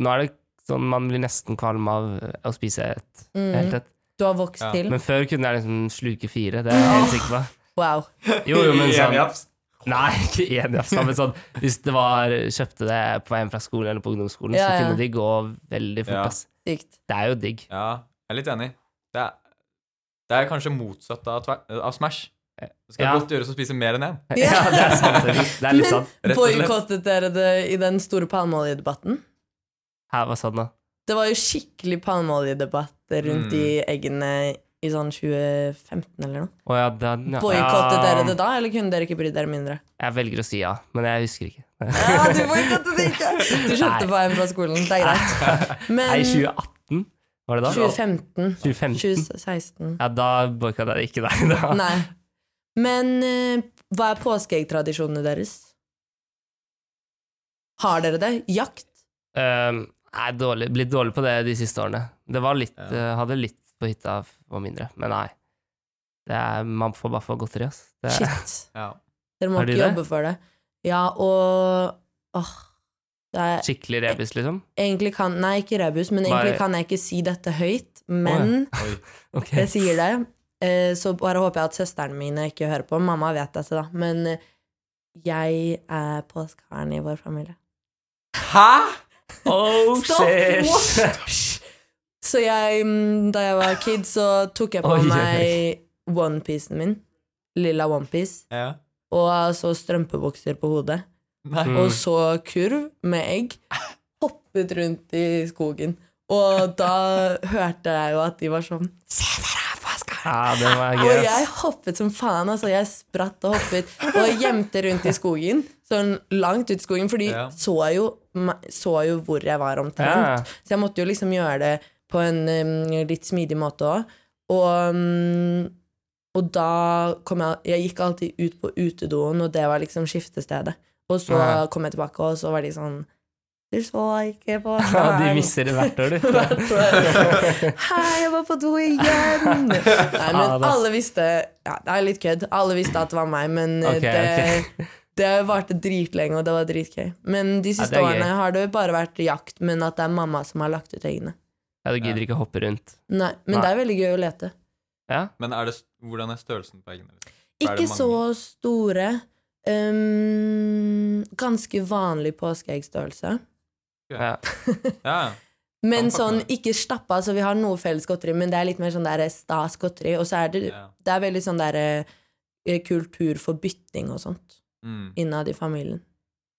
Speaker 1: Nå er det sånn man blir nesten kvalm av eh, å spise et. Helt
Speaker 2: Mm.
Speaker 1: et.
Speaker 2: Du har vokst
Speaker 3: Ja.
Speaker 2: til?
Speaker 1: Men før kunne jeg liksom sluke fire. Det er jeg helt sikker
Speaker 3: [laughs]
Speaker 1: på.
Speaker 2: Wow.
Speaker 1: Jo, jo, men sånn
Speaker 3: Jævlig.
Speaker 1: Nei, ikke enig, altså, men sånn Hvis det var kjøpte det på vei hjem fra skolen eller på ungdomsskolen,
Speaker 2: Ja,
Speaker 1: så
Speaker 2: ja.
Speaker 1: kunne de gå veldig fort,
Speaker 3: Ja.
Speaker 1: ass.
Speaker 2: Sykt.
Speaker 1: Det er jo digg.
Speaker 3: Ja, jeg er litt enig. Det er, det er kanskje motsatt av, tver- av Smash. Det skal
Speaker 1: Eh, Ja.
Speaker 3: godt gjøres å spise mer enn én.
Speaker 1: [laughs] Ja, det er sant. Det er litt sånn. sant.
Speaker 3: Rett
Speaker 2: Men
Speaker 3: og slett.
Speaker 2: boikottet dere det i den store palmeoljedebatten?
Speaker 1: Her var sånn, da.
Speaker 2: Det var jo skikkelig palmeoljedebatt rundt
Speaker 3: Mm.
Speaker 2: de eggene i sånn 2015 eller noe.
Speaker 1: Å ja, den, ja.
Speaker 2: Boikottet
Speaker 1: Ja,
Speaker 2: dere det da, eller kunne dere ikke bry
Speaker 1: [laughs]
Speaker 2: dere mindre?
Speaker 1: Jeg velger å si ja, men jeg husker ikke.
Speaker 2: Ja, du boikottet det ikke! Du
Speaker 1: Nei.
Speaker 2: kjøpte bare en fra skolen, det er
Speaker 1: [laughs]
Speaker 2: greit.
Speaker 1: Nei,
Speaker 2: Men
Speaker 1: 2018 var det da?
Speaker 2: 2015,
Speaker 1: 2015?
Speaker 2: 2016
Speaker 1: Ja, da boikotta jeg ikke deg, da. [laughs]
Speaker 2: Nei. Men eh, hva er påskeeggtradisjonene deres? Har dere det? Jakt?
Speaker 1: Ehm, jeg er dårlig, blitt dårlig på det de siste årene. Det var litt,
Speaker 3: Ja.
Speaker 1: eh, hadde litt på hytta f- og mindre, men nei. Det er, man får bare få godteri, ass. Det er,
Speaker 2: Shit.
Speaker 3: Ja.
Speaker 2: Dere må
Speaker 1: Har de
Speaker 2: ikke
Speaker 1: det?
Speaker 2: jobbe for det. Ja, og åh, det er
Speaker 1: skikkelig rebus, liksom.
Speaker 2: egentlig kan Nei, ikke rebus, men
Speaker 1: Bare-
Speaker 2: egentlig kan jeg ikke si dette høyt. Men
Speaker 1: [laughs]
Speaker 3: Oi.
Speaker 1: Ok.
Speaker 2: jeg sier det. eh, Så bare håper jeg at søsterne mine ikke hører på. Mamma vet dette, da. Men eh, jeg er påskeharen i vår familie.
Speaker 3: Hæ?!
Speaker 1: Oh,
Speaker 2: What? Hysj. Så jeg, mm, da jeg var kid, så tok jeg på
Speaker 1: [laughs] Oi, oi, oi.
Speaker 2: meg onepiecen min. Lilla onepiece.
Speaker 3: Ja.
Speaker 2: Og så strømpebukser på hodet.
Speaker 3: Nei.
Speaker 1: Mm.
Speaker 2: og så kurv med egg, hoppet rundt i skogen. Og da hørte jeg jo at de var sånn Se dere her,
Speaker 1: [laughs]
Speaker 2: påskeharen!
Speaker 1: Ja, det var
Speaker 2: Og
Speaker 1: gøy,
Speaker 2: jeg
Speaker 1: ass.
Speaker 2: hoppet som faen. altså Jeg spratt og hoppet og gjemte rundt i skogen. Sånn langt ut i skogen, for de
Speaker 3: Ja.
Speaker 2: så, jo, me- så jo hvor jeg var
Speaker 1: Ja.
Speaker 2: omtrent. Så jeg måtte jo liksom gjøre det på en um, litt smidig måte òg. Og, um, og da kom jeg Jeg gikk alltid ut på utedoen, og det var liksom skiftestedet. Og så
Speaker 1: Ja.
Speaker 2: kom jeg tilbake, og så var de sånn Du så ikke på
Speaker 1: [laughs] Ja, de misser det hvert år,
Speaker 2: [laughs]
Speaker 1: du.
Speaker 2: sånn, Hei, jeg var på do igjen! Nei, men
Speaker 1: Faen, ass.
Speaker 2: alle visste Ja, det er litt kødd. Alle visste at det var meg, men eh,
Speaker 1: Ok,
Speaker 2: det, det varte dritlenge, og det var dritgøy. Men de
Speaker 1: det
Speaker 2: siste
Speaker 1: er gøy.
Speaker 2: årene har det bare vært jakt, men at det er mamma som har lagt ut eggene.
Speaker 1: Ja, du gidder ikke å hoppe rundt.
Speaker 2: Nei, men
Speaker 1: Nei.
Speaker 2: det er veldig gøy å lete.
Speaker 1: Ja?
Speaker 3: liksom? Men er det, hvordan er størrelsen på eggene? Er det
Speaker 2: Ikke
Speaker 3: mange?
Speaker 2: så store. Ehm, ganske vanlig påskeeggstørrelse.
Speaker 1: Ja.
Speaker 3: Ja,
Speaker 2: Men
Speaker 3: Kan pakke
Speaker 2: sånn
Speaker 3: det.
Speaker 2: ikke slappa, så vi har noe felles godteri, men det er litt mer sånn der stas godteri. Og så er det,
Speaker 3: ja.
Speaker 2: det er veldig sånn der eh, kultur for bytting og sånt
Speaker 3: Mm.
Speaker 2: innad i familien.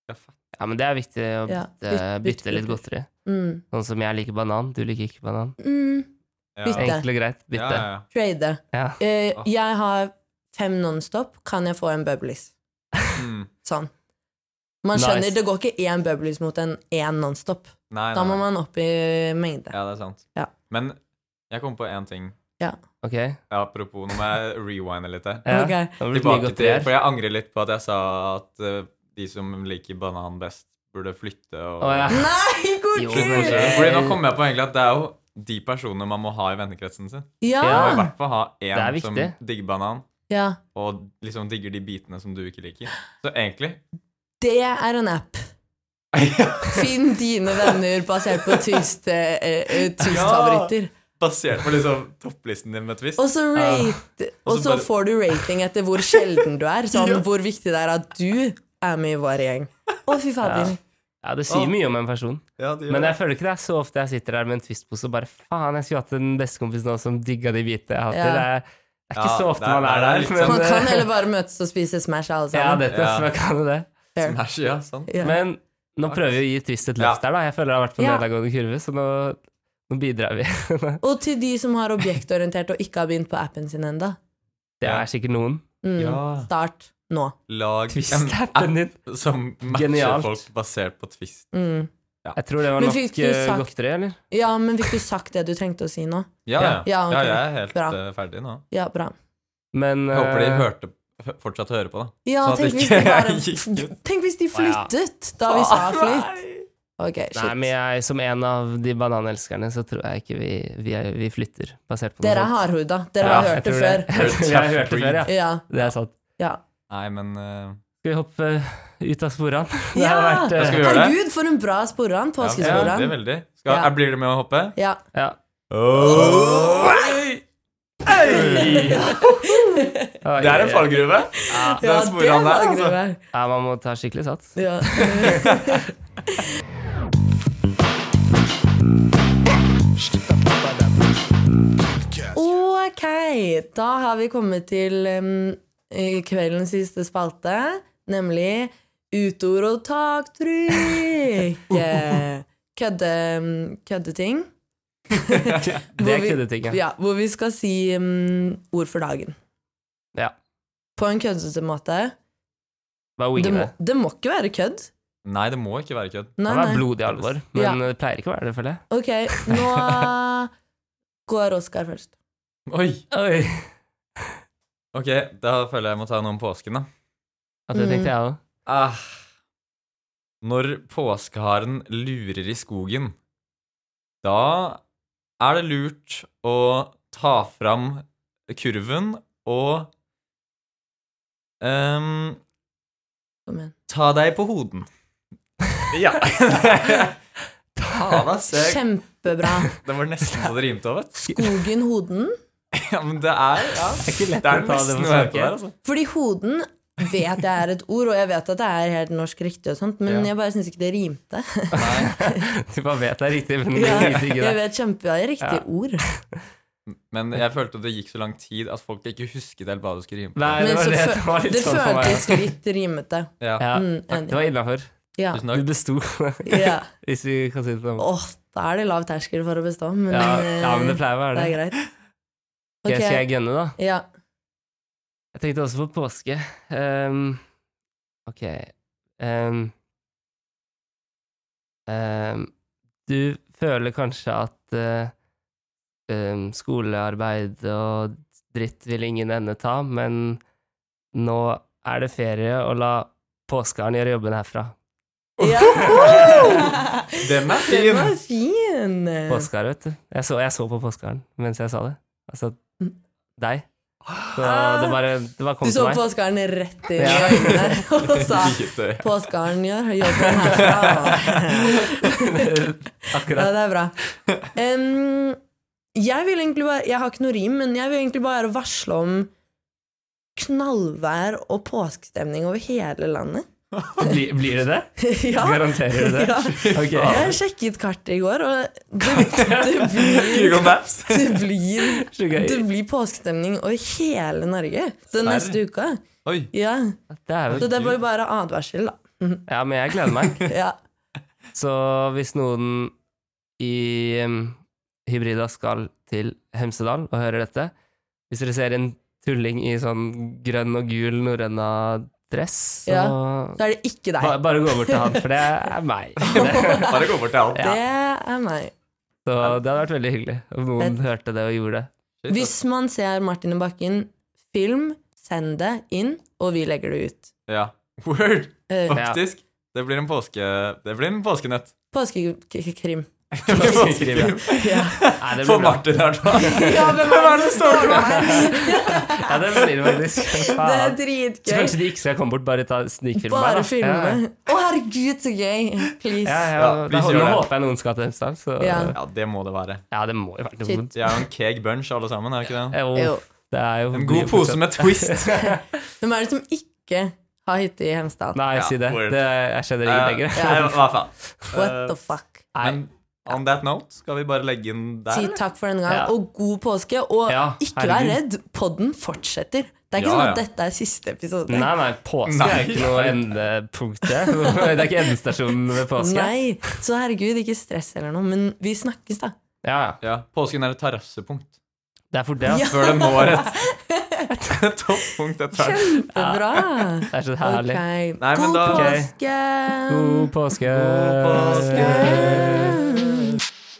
Speaker 1: Ja, men det er viktig å bytte,
Speaker 2: Ja, bytt- bytt-
Speaker 1: bytte litt
Speaker 2: bytt.
Speaker 1: godteri.
Speaker 2: Mm.
Speaker 1: Sånn som jeg liker banan, du liker ikke banan.
Speaker 2: Mm.
Speaker 3: Ja.
Speaker 2: Bytte.
Speaker 1: Enkelt og greit.
Speaker 3: Ja,
Speaker 1: Bytte.
Speaker 3: ja, ja.
Speaker 2: Trade.
Speaker 1: Ja.
Speaker 2: Eh,
Speaker 3: Ah.
Speaker 2: jeg har fem Nonstop, kan jeg få en Bubblies?
Speaker 3: Mm.
Speaker 2: Sånn. Man
Speaker 1: Nice.
Speaker 2: skjønner, det går ikke én Bubblies mot en én Nonstop.
Speaker 3: Nei,
Speaker 2: Da
Speaker 3: nei,
Speaker 2: må
Speaker 3: nei.
Speaker 2: man opp i mengde.
Speaker 3: Ja, det er sant.
Speaker 2: Ja.
Speaker 3: Men jeg kom på én ting.
Speaker 1: Ok.
Speaker 3: Ja, apropos, nå må jeg rewinde litt her.
Speaker 1: Ja.
Speaker 2: Ok.
Speaker 1: Det har blitt mye
Speaker 3: Tilbake
Speaker 1: godteri
Speaker 3: til,
Speaker 1: her.
Speaker 3: for jeg angrer litt på at jeg sa at eh, de som liker banan best, burde flytte og
Speaker 1: Å, ja.
Speaker 2: Nei, god
Speaker 1: Jo,
Speaker 2: gud!
Speaker 1: men-
Speaker 3: Fordi nå kommer jeg på egentlig at det er jo de personene man må ha i vennekretsen sin. Man må i
Speaker 2: Ja!
Speaker 3: hvert fall ha
Speaker 1: Ah, Det er
Speaker 3: én som
Speaker 1: viktig.
Speaker 3: digger banan,
Speaker 2: ja!
Speaker 3: og liksom digger de bitene som du ikke liker. Så egentlig [laughs]
Speaker 2: Det er en app. Finn dine venner basert på tyste, eh, eh, tystfavoritter.
Speaker 3: Basert på liksom topplisten din med twist.
Speaker 2: Og
Speaker 1: Ah.
Speaker 2: så rate, og så
Speaker 3: bare-
Speaker 2: får du rating etter hvor sjelden du
Speaker 1: [laughs]
Speaker 2: er. Sånn hvor viktig det er at du er med i vår gjeng. Å, fy fader.
Speaker 1: ja, det sier mye om en person.
Speaker 3: Ja, det gjør
Speaker 1: Men
Speaker 3: det.
Speaker 1: jeg føler ikke det er så ofte jeg sitter der med en twistpose og bare faen, jeg skulle hatt en bestekompis nå som digga de hvite jeg hadde.
Speaker 2: Ja.
Speaker 1: Det er, det er ikke
Speaker 3: Ja,
Speaker 1: så ofte
Speaker 3: det er-
Speaker 1: man er
Speaker 3: det er
Speaker 1: der.
Speaker 3: litt
Speaker 1: Men,
Speaker 2: Man kan
Speaker 1: eh,
Speaker 2: heller bare møtes og spise Smash, alle
Speaker 1: [laughs] ja,
Speaker 2: sammen.
Speaker 1: det, ja.
Speaker 3: Ja.
Speaker 1: Man kan jo det.
Speaker 2: Fair.
Speaker 3: Smash, Sånn ja, sant.
Speaker 2: Ja.
Speaker 1: Men nå prøver vi å gi Twist et løft
Speaker 3: Ja.
Speaker 1: her, da. Jeg føler det har vært på
Speaker 2: Ja.
Speaker 1: nedadgående kurve, så nå, nå bidrar vi. [laughs]
Speaker 2: Og til de som har objektorientert og ikke har begynt på appen sin ennå.
Speaker 1: Det er sikkert noen.
Speaker 2: Mm.
Speaker 3: [laughs] Ja.
Speaker 2: Start nå.
Speaker 3: Lag en app
Speaker 1: Twist-appen din.
Speaker 3: som matcher
Speaker 1: Genialt.
Speaker 3: folk basert på twist.
Speaker 2: Mm.
Speaker 1: Jeg tror det var
Speaker 2: Men
Speaker 1: nok
Speaker 2: fikk du
Speaker 1: eh,
Speaker 2: sagt-
Speaker 1: godteri, eller?
Speaker 2: Ja, men fikk du sagt det du trengte å si nå?
Speaker 3: Ja, ja. ja,
Speaker 2: Ja, ok.
Speaker 3: jeg er helt
Speaker 2: Bra.
Speaker 3: eh, ferdig nå.
Speaker 2: Ja, bra.
Speaker 1: Men
Speaker 3: Jeg håper de
Speaker 1: eh,
Speaker 3: hørte, f- fortsatt hører på, da.
Speaker 2: Ja,
Speaker 3: Sånn at
Speaker 2: tenk
Speaker 3: det
Speaker 2: hvis,
Speaker 1: [laughs]
Speaker 2: de
Speaker 3: ikke
Speaker 2: bare,
Speaker 3: gikk
Speaker 2: tenk hvis de
Speaker 1: Å, ja.
Speaker 2: flyttet da vi
Speaker 3: [laughs]
Speaker 2: sa flytt.
Speaker 3: Nei.
Speaker 2: Ok, shit.
Speaker 1: Nei, men jeg, som en av de bananelskerne, så tror jeg ikke vi, vi, er, vi flytter, basert på noe
Speaker 2: Dere er
Speaker 1: sånt.
Speaker 2: hardhuda. Dere
Speaker 1: Ja,
Speaker 2: har
Speaker 1: jeg
Speaker 2: hørt det
Speaker 1: tror
Speaker 2: før.
Speaker 1: Jeg tror jeg har hørt det før, ja.
Speaker 2: Ja.
Speaker 1: Det er sant.
Speaker 2: ja.
Speaker 3: Nei, men eh,
Speaker 1: Skal vi hoppe ut av sporene? Det
Speaker 2: Ja!
Speaker 1: har vært
Speaker 3: Da
Speaker 1: eh,
Speaker 3: skal vi gjøre det.
Speaker 2: Herregud, for en bra sporran.
Speaker 3: Ja, veldig,
Speaker 2: Påskesporran.
Speaker 3: veldig. Skal,
Speaker 2: Ja.
Speaker 3: eh, Blir du med å hoppe?
Speaker 2: Ja.
Speaker 1: ja.
Speaker 3: Oi!
Speaker 1: Oi,
Speaker 3: Det er en fallgruve. Den
Speaker 2: Ja, det
Speaker 3: sporene
Speaker 2: var
Speaker 3: der, altså.
Speaker 2: greier.
Speaker 1: Ja, man må ta skikkelig sats.
Speaker 3: [laughs]
Speaker 2: Ja. Ok, da har vi kommet til em, eh, kveldens siste spalte, nemlig utord og
Speaker 3: [laughs]
Speaker 2: taktrykk. Eh, Kødde, køddeting.
Speaker 1: Det er
Speaker 2: Hvor vi-
Speaker 1: køddeting, ja.
Speaker 2: Ja, hvor vi skal si em, ord for dagen.
Speaker 1: Ja.
Speaker 2: På en køddete måte.
Speaker 1: Bare
Speaker 2: Det
Speaker 1: winge
Speaker 2: må,
Speaker 1: det.
Speaker 2: det må ikke være kødd.
Speaker 3: [laughs] Nei, det må ikke være kødd.
Speaker 1: Det
Speaker 2: Nei,
Speaker 1: kan være
Speaker 2: nei.
Speaker 1: blodig alvor,
Speaker 2: Ja.
Speaker 1: men det pleier ikke å være det, føler jeg.
Speaker 2: Ok,
Speaker 1: [laughs]
Speaker 2: nå går Oskar først.
Speaker 3: Oi!
Speaker 1: Oi.
Speaker 3: Ok, da føler jeg jeg må ta noe om påsken, da.
Speaker 1: Ja, det tenkte jeg òg.
Speaker 3: Ah. Når påskeharen lurer i skogen, da er det lurt å ta fram kurven og ehm,
Speaker 2: Kom igjen.
Speaker 3: ta deg på hoden. Ja. [laughs] ta deg selv.
Speaker 2: Kjempebra.
Speaker 3: Det var nesten så det rimte òg, vet du.
Speaker 2: Skogen, hoden.
Speaker 3: Ja, men det er ja.
Speaker 1: Det er ikke lett
Speaker 3: Det er
Speaker 1: å ta det
Speaker 3: nesten
Speaker 1: på
Speaker 3: noe her på
Speaker 1: snakke.
Speaker 3: der, altså.
Speaker 2: Fordi hoden vet jeg er et ord, og jeg vet at det er helt norsk riktig, og sånt, men
Speaker 1: Ja.
Speaker 2: jeg bare syns ikke det rimte.
Speaker 1: [laughs] Du bare vet det er riktig, men det
Speaker 2: Ja,
Speaker 1: er ikke
Speaker 2: jeg
Speaker 1: det.
Speaker 2: vet kjemperiktig
Speaker 1: Ja.
Speaker 2: ord.
Speaker 3: Men jeg følte at det gikk så lang tid at folk ikke husket helt hva du skulle rime på.
Speaker 1: Nei, det
Speaker 2: Men
Speaker 1: var
Speaker 2: så
Speaker 1: det
Speaker 2: fø-
Speaker 1: som var [laughs] litt
Speaker 2: det
Speaker 1: sånn for meg.
Speaker 2: føltes litt rimete.
Speaker 3: Ja.
Speaker 1: Ja,
Speaker 2: Mm,
Speaker 1: det
Speaker 2: enig.
Speaker 1: var innafor.
Speaker 2: Ja.
Speaker 3: Tusen
Speaker 1: Du
Speaker 3: takk.
Speaker 1: besto, [laughs]
Speaker 2: ja.
Speaker 1: hvis vi kan si det sånn.
Speaker 2: Åh, da er det lav terskel for å bestå, men,
Speaker 1: Ja,
Speaker 2: eh,
Speaker 1: ja, men det
Speaker 2: det,
Speaker 1: pleier å være
Speaker 2: er
Speaker 1: det.
Speaker 2: greit.
Speaker 1: Ok,
Speaker 2: Ok,
Speaker 1: Skal jeg gønne, da? [laughs]
Speaker 2: ja.
Speaker 1: Jeg tenkte også på påske. Ehm, ok Ehm, ehm, Du føler kanskje at eh, ehm, skolearbeid og dritt vil ingen ende ta, men nå er det ferie, og la påskeharen gjøre jobben herfra.
Speaker 2: ja.
Speaker 3: Den
Speaker 2: Den
Speaker 3: er fin!
Speaker 2: var fin!
Speaker 1: Påskeharen, vet du. Jeg så, jeg så på påskeharen mens jeg sa det. Altså deg. Så det bare, det bare kom
Speaker 2: Mm. Ah! Du
Speaker 1: til
Speaker 2: så
Speaker 1: meg.
Speaker 2: påskeharen rett i
Speaker 1: Ja.
Speaker 2: øynene og
Speaker 1: altså.
Speaker 3: [laughs]
Speaker 2: sa
Speaker 3: Lite.
Speaker 2: Påskeharen gjør jobben
Speaker 1: [laughs]
Speaker 2: herfra. Ja,
Speaker 1: Akkurat.
Speaker 2: det er bra. Em, jeg vil egentlig bare Jeg har ikke noe rim, men jeg vil egentlig bare varsle om knallvær og påskestemning over hele landet. [laughs]
Speaker 1: Blir, blir det det?
Speaker 2: ja.
Speaker 1: Garanterer du det?
Speaker 2: [laughs] Ja.
Speaker 1: Ok.
Speaker 2: Jeg sjekket kartet i går, og det, det blir
Speaker 3: Google Maps.
Speaker 2: [laughs] det blir,
Speaker 1: Så gøy.
Speaker 2: det blir påskestemning over hele Norge den
Speaker 3: Serr?
Speaker 2: neste uka.
Speaker 3: Oi.
Speaker 2: Ja.
Speaker 1: Det er
Speaker 2: Så
Speaker 1: jo,
Speaker 2: det blir bare advarsel,
Speaker 1: [laughs]
Speaker 2: da.
Speaker 1: ja, men jeg gleder meg.
Speaker 2: Ja.
Speaker 1: Så hvis noen i um, Hybrida skal til Hemsedal og hører dette Hvis dere ser en tulling i sånn grønn og gul norrøna dress, så
Speaker 2: Så er det ikke
Speaker 1: ba,
Speaker 2: deg.
Speaker 1: bare gå bort til han, for det er
Speaker 2: [laughs]
Speaker 1: meg.
Speaker 3: Bare gå bort til alt.
Speaker 1: Ja.
Speaker 2: Det er meg.
Speaker 1: Så det hadde vært veldig hyggelig om noen
Speaker 2: Det-
Speaker 1: hørte det og gjorde det.
Speaker 3: Shit, altså.
Speaker 2: Hvis man ser Martin i bakken, film, send det inn, og vi legger det ut.
Speaker 3: Ja. Word!
Speaker 2: Eh,
Speaker 3: Faktisk. Det blir en påske... Det blir en [laughs] påskenøtt.
Speaker 2: Påskekrim.
Speaker 1: [laughs]
Speaker 3: Det blir påskekrim.
Speaker 2: Ja.
Speaker 1: Nei, det
Speaker 3: For
Speaker 1: blir bra.
Speaker 3: Martin, i hvert fall.
Speaker 2: Ja, hvem er det som står
Speaker 1: Ja, det blir det faktisk.
Speaker 2: [laughs] Det er
Speaker 1: Faen. Så
Speaker 2: dritgøy.
Speaker 1: kanskje de ikke skal komme bort, bare ta snikfilme
Speaker 2: Bare
Speaker 1: da. Ja, ja.
Speaker 2: filme. Å, herregud, så gøy! Please.
Speaker 1: Ja, ja,
Speaker 3: Ja,
Speaker 1: da
Speaker 3: please gjør
Speaker 1: holder, nå
Speaker 3: det.
Speaker 1: håper jeg noen skal til Hemsedal, så ja.
Speaker 2: Ja.
Speaker 3: Ja, det må det være.
Speaker 1: det må jo være noe
Speaker 2: Shit.
Speaker 1: vondt.
Speaker 3: Vi er jo en keg bunch, alle sammen. er vi ikke det?
Speaker 1: Jo,
Speaker 2: Jo.
Speaker 1: det er jo
Speaker 3: En god pose med
Speaker 1: [laughs]
Speaker 3: twist.
Speaker 2: Hvem er det som ikke har hytte i Hemsedal?
Speaker 1: Nei,
Speaker 3: Ja,
Speaker 1: si det.
Speaker 3: word.
Speaker 1: det jeg skjønner ikke lenger.
Speaker 3: Eh, nei, hva faen.
Speaker 2: What the fuck?
Speaker 1: Nei.
Speaker 3: Men on that note, skal vi bare legge den der?
Speaker 2: Si
Speaker 3: eller?
Speaker 2: takk for denne gang,
Speaker 1: Ja.
Speaker 2: og god påske. Og
Speaker 1: Ja,
Speaker 2: ikke vær
Speaker 1: herregud.
Speaker 2: redd, podden fortsetter. Det er ikke
Speaker 3: Ja,
Speaker 2: sånn
Speaker 3: ja.
Speaker 2: at dette er siste episode.
Speaker 1: Nei, nei, påske
Speaker 3: Nei.
Speaker 1: er ikke noe endepunkt.
Speaker 3: [laughs]
Speaker 1: Det Det er ikke endestasjonen ved påske.
Speaker 2: Nei, Så herregud, ikke stress eller noe, men vi snakkes, da.
Speaker 1: Ja, ja.
Speaker 3: Ja, Påsken er et terrassepunkt.
Speaker 1: Det er for det. altså.
Speaker 3: Før det når et, et toppunkt etter hvert.
Speaker 2: Kjempebra!
Speaker 1: Det er så
Speaker 2: Ok.
Speaker 1: herlig.
Speaker 3: Nei, men
Speaker 2: God
Speaker 3: da-
Speaker 1: Ok.
Speaker 2: påske!
Speaker 1: God påske.
Speaker 3: God påske.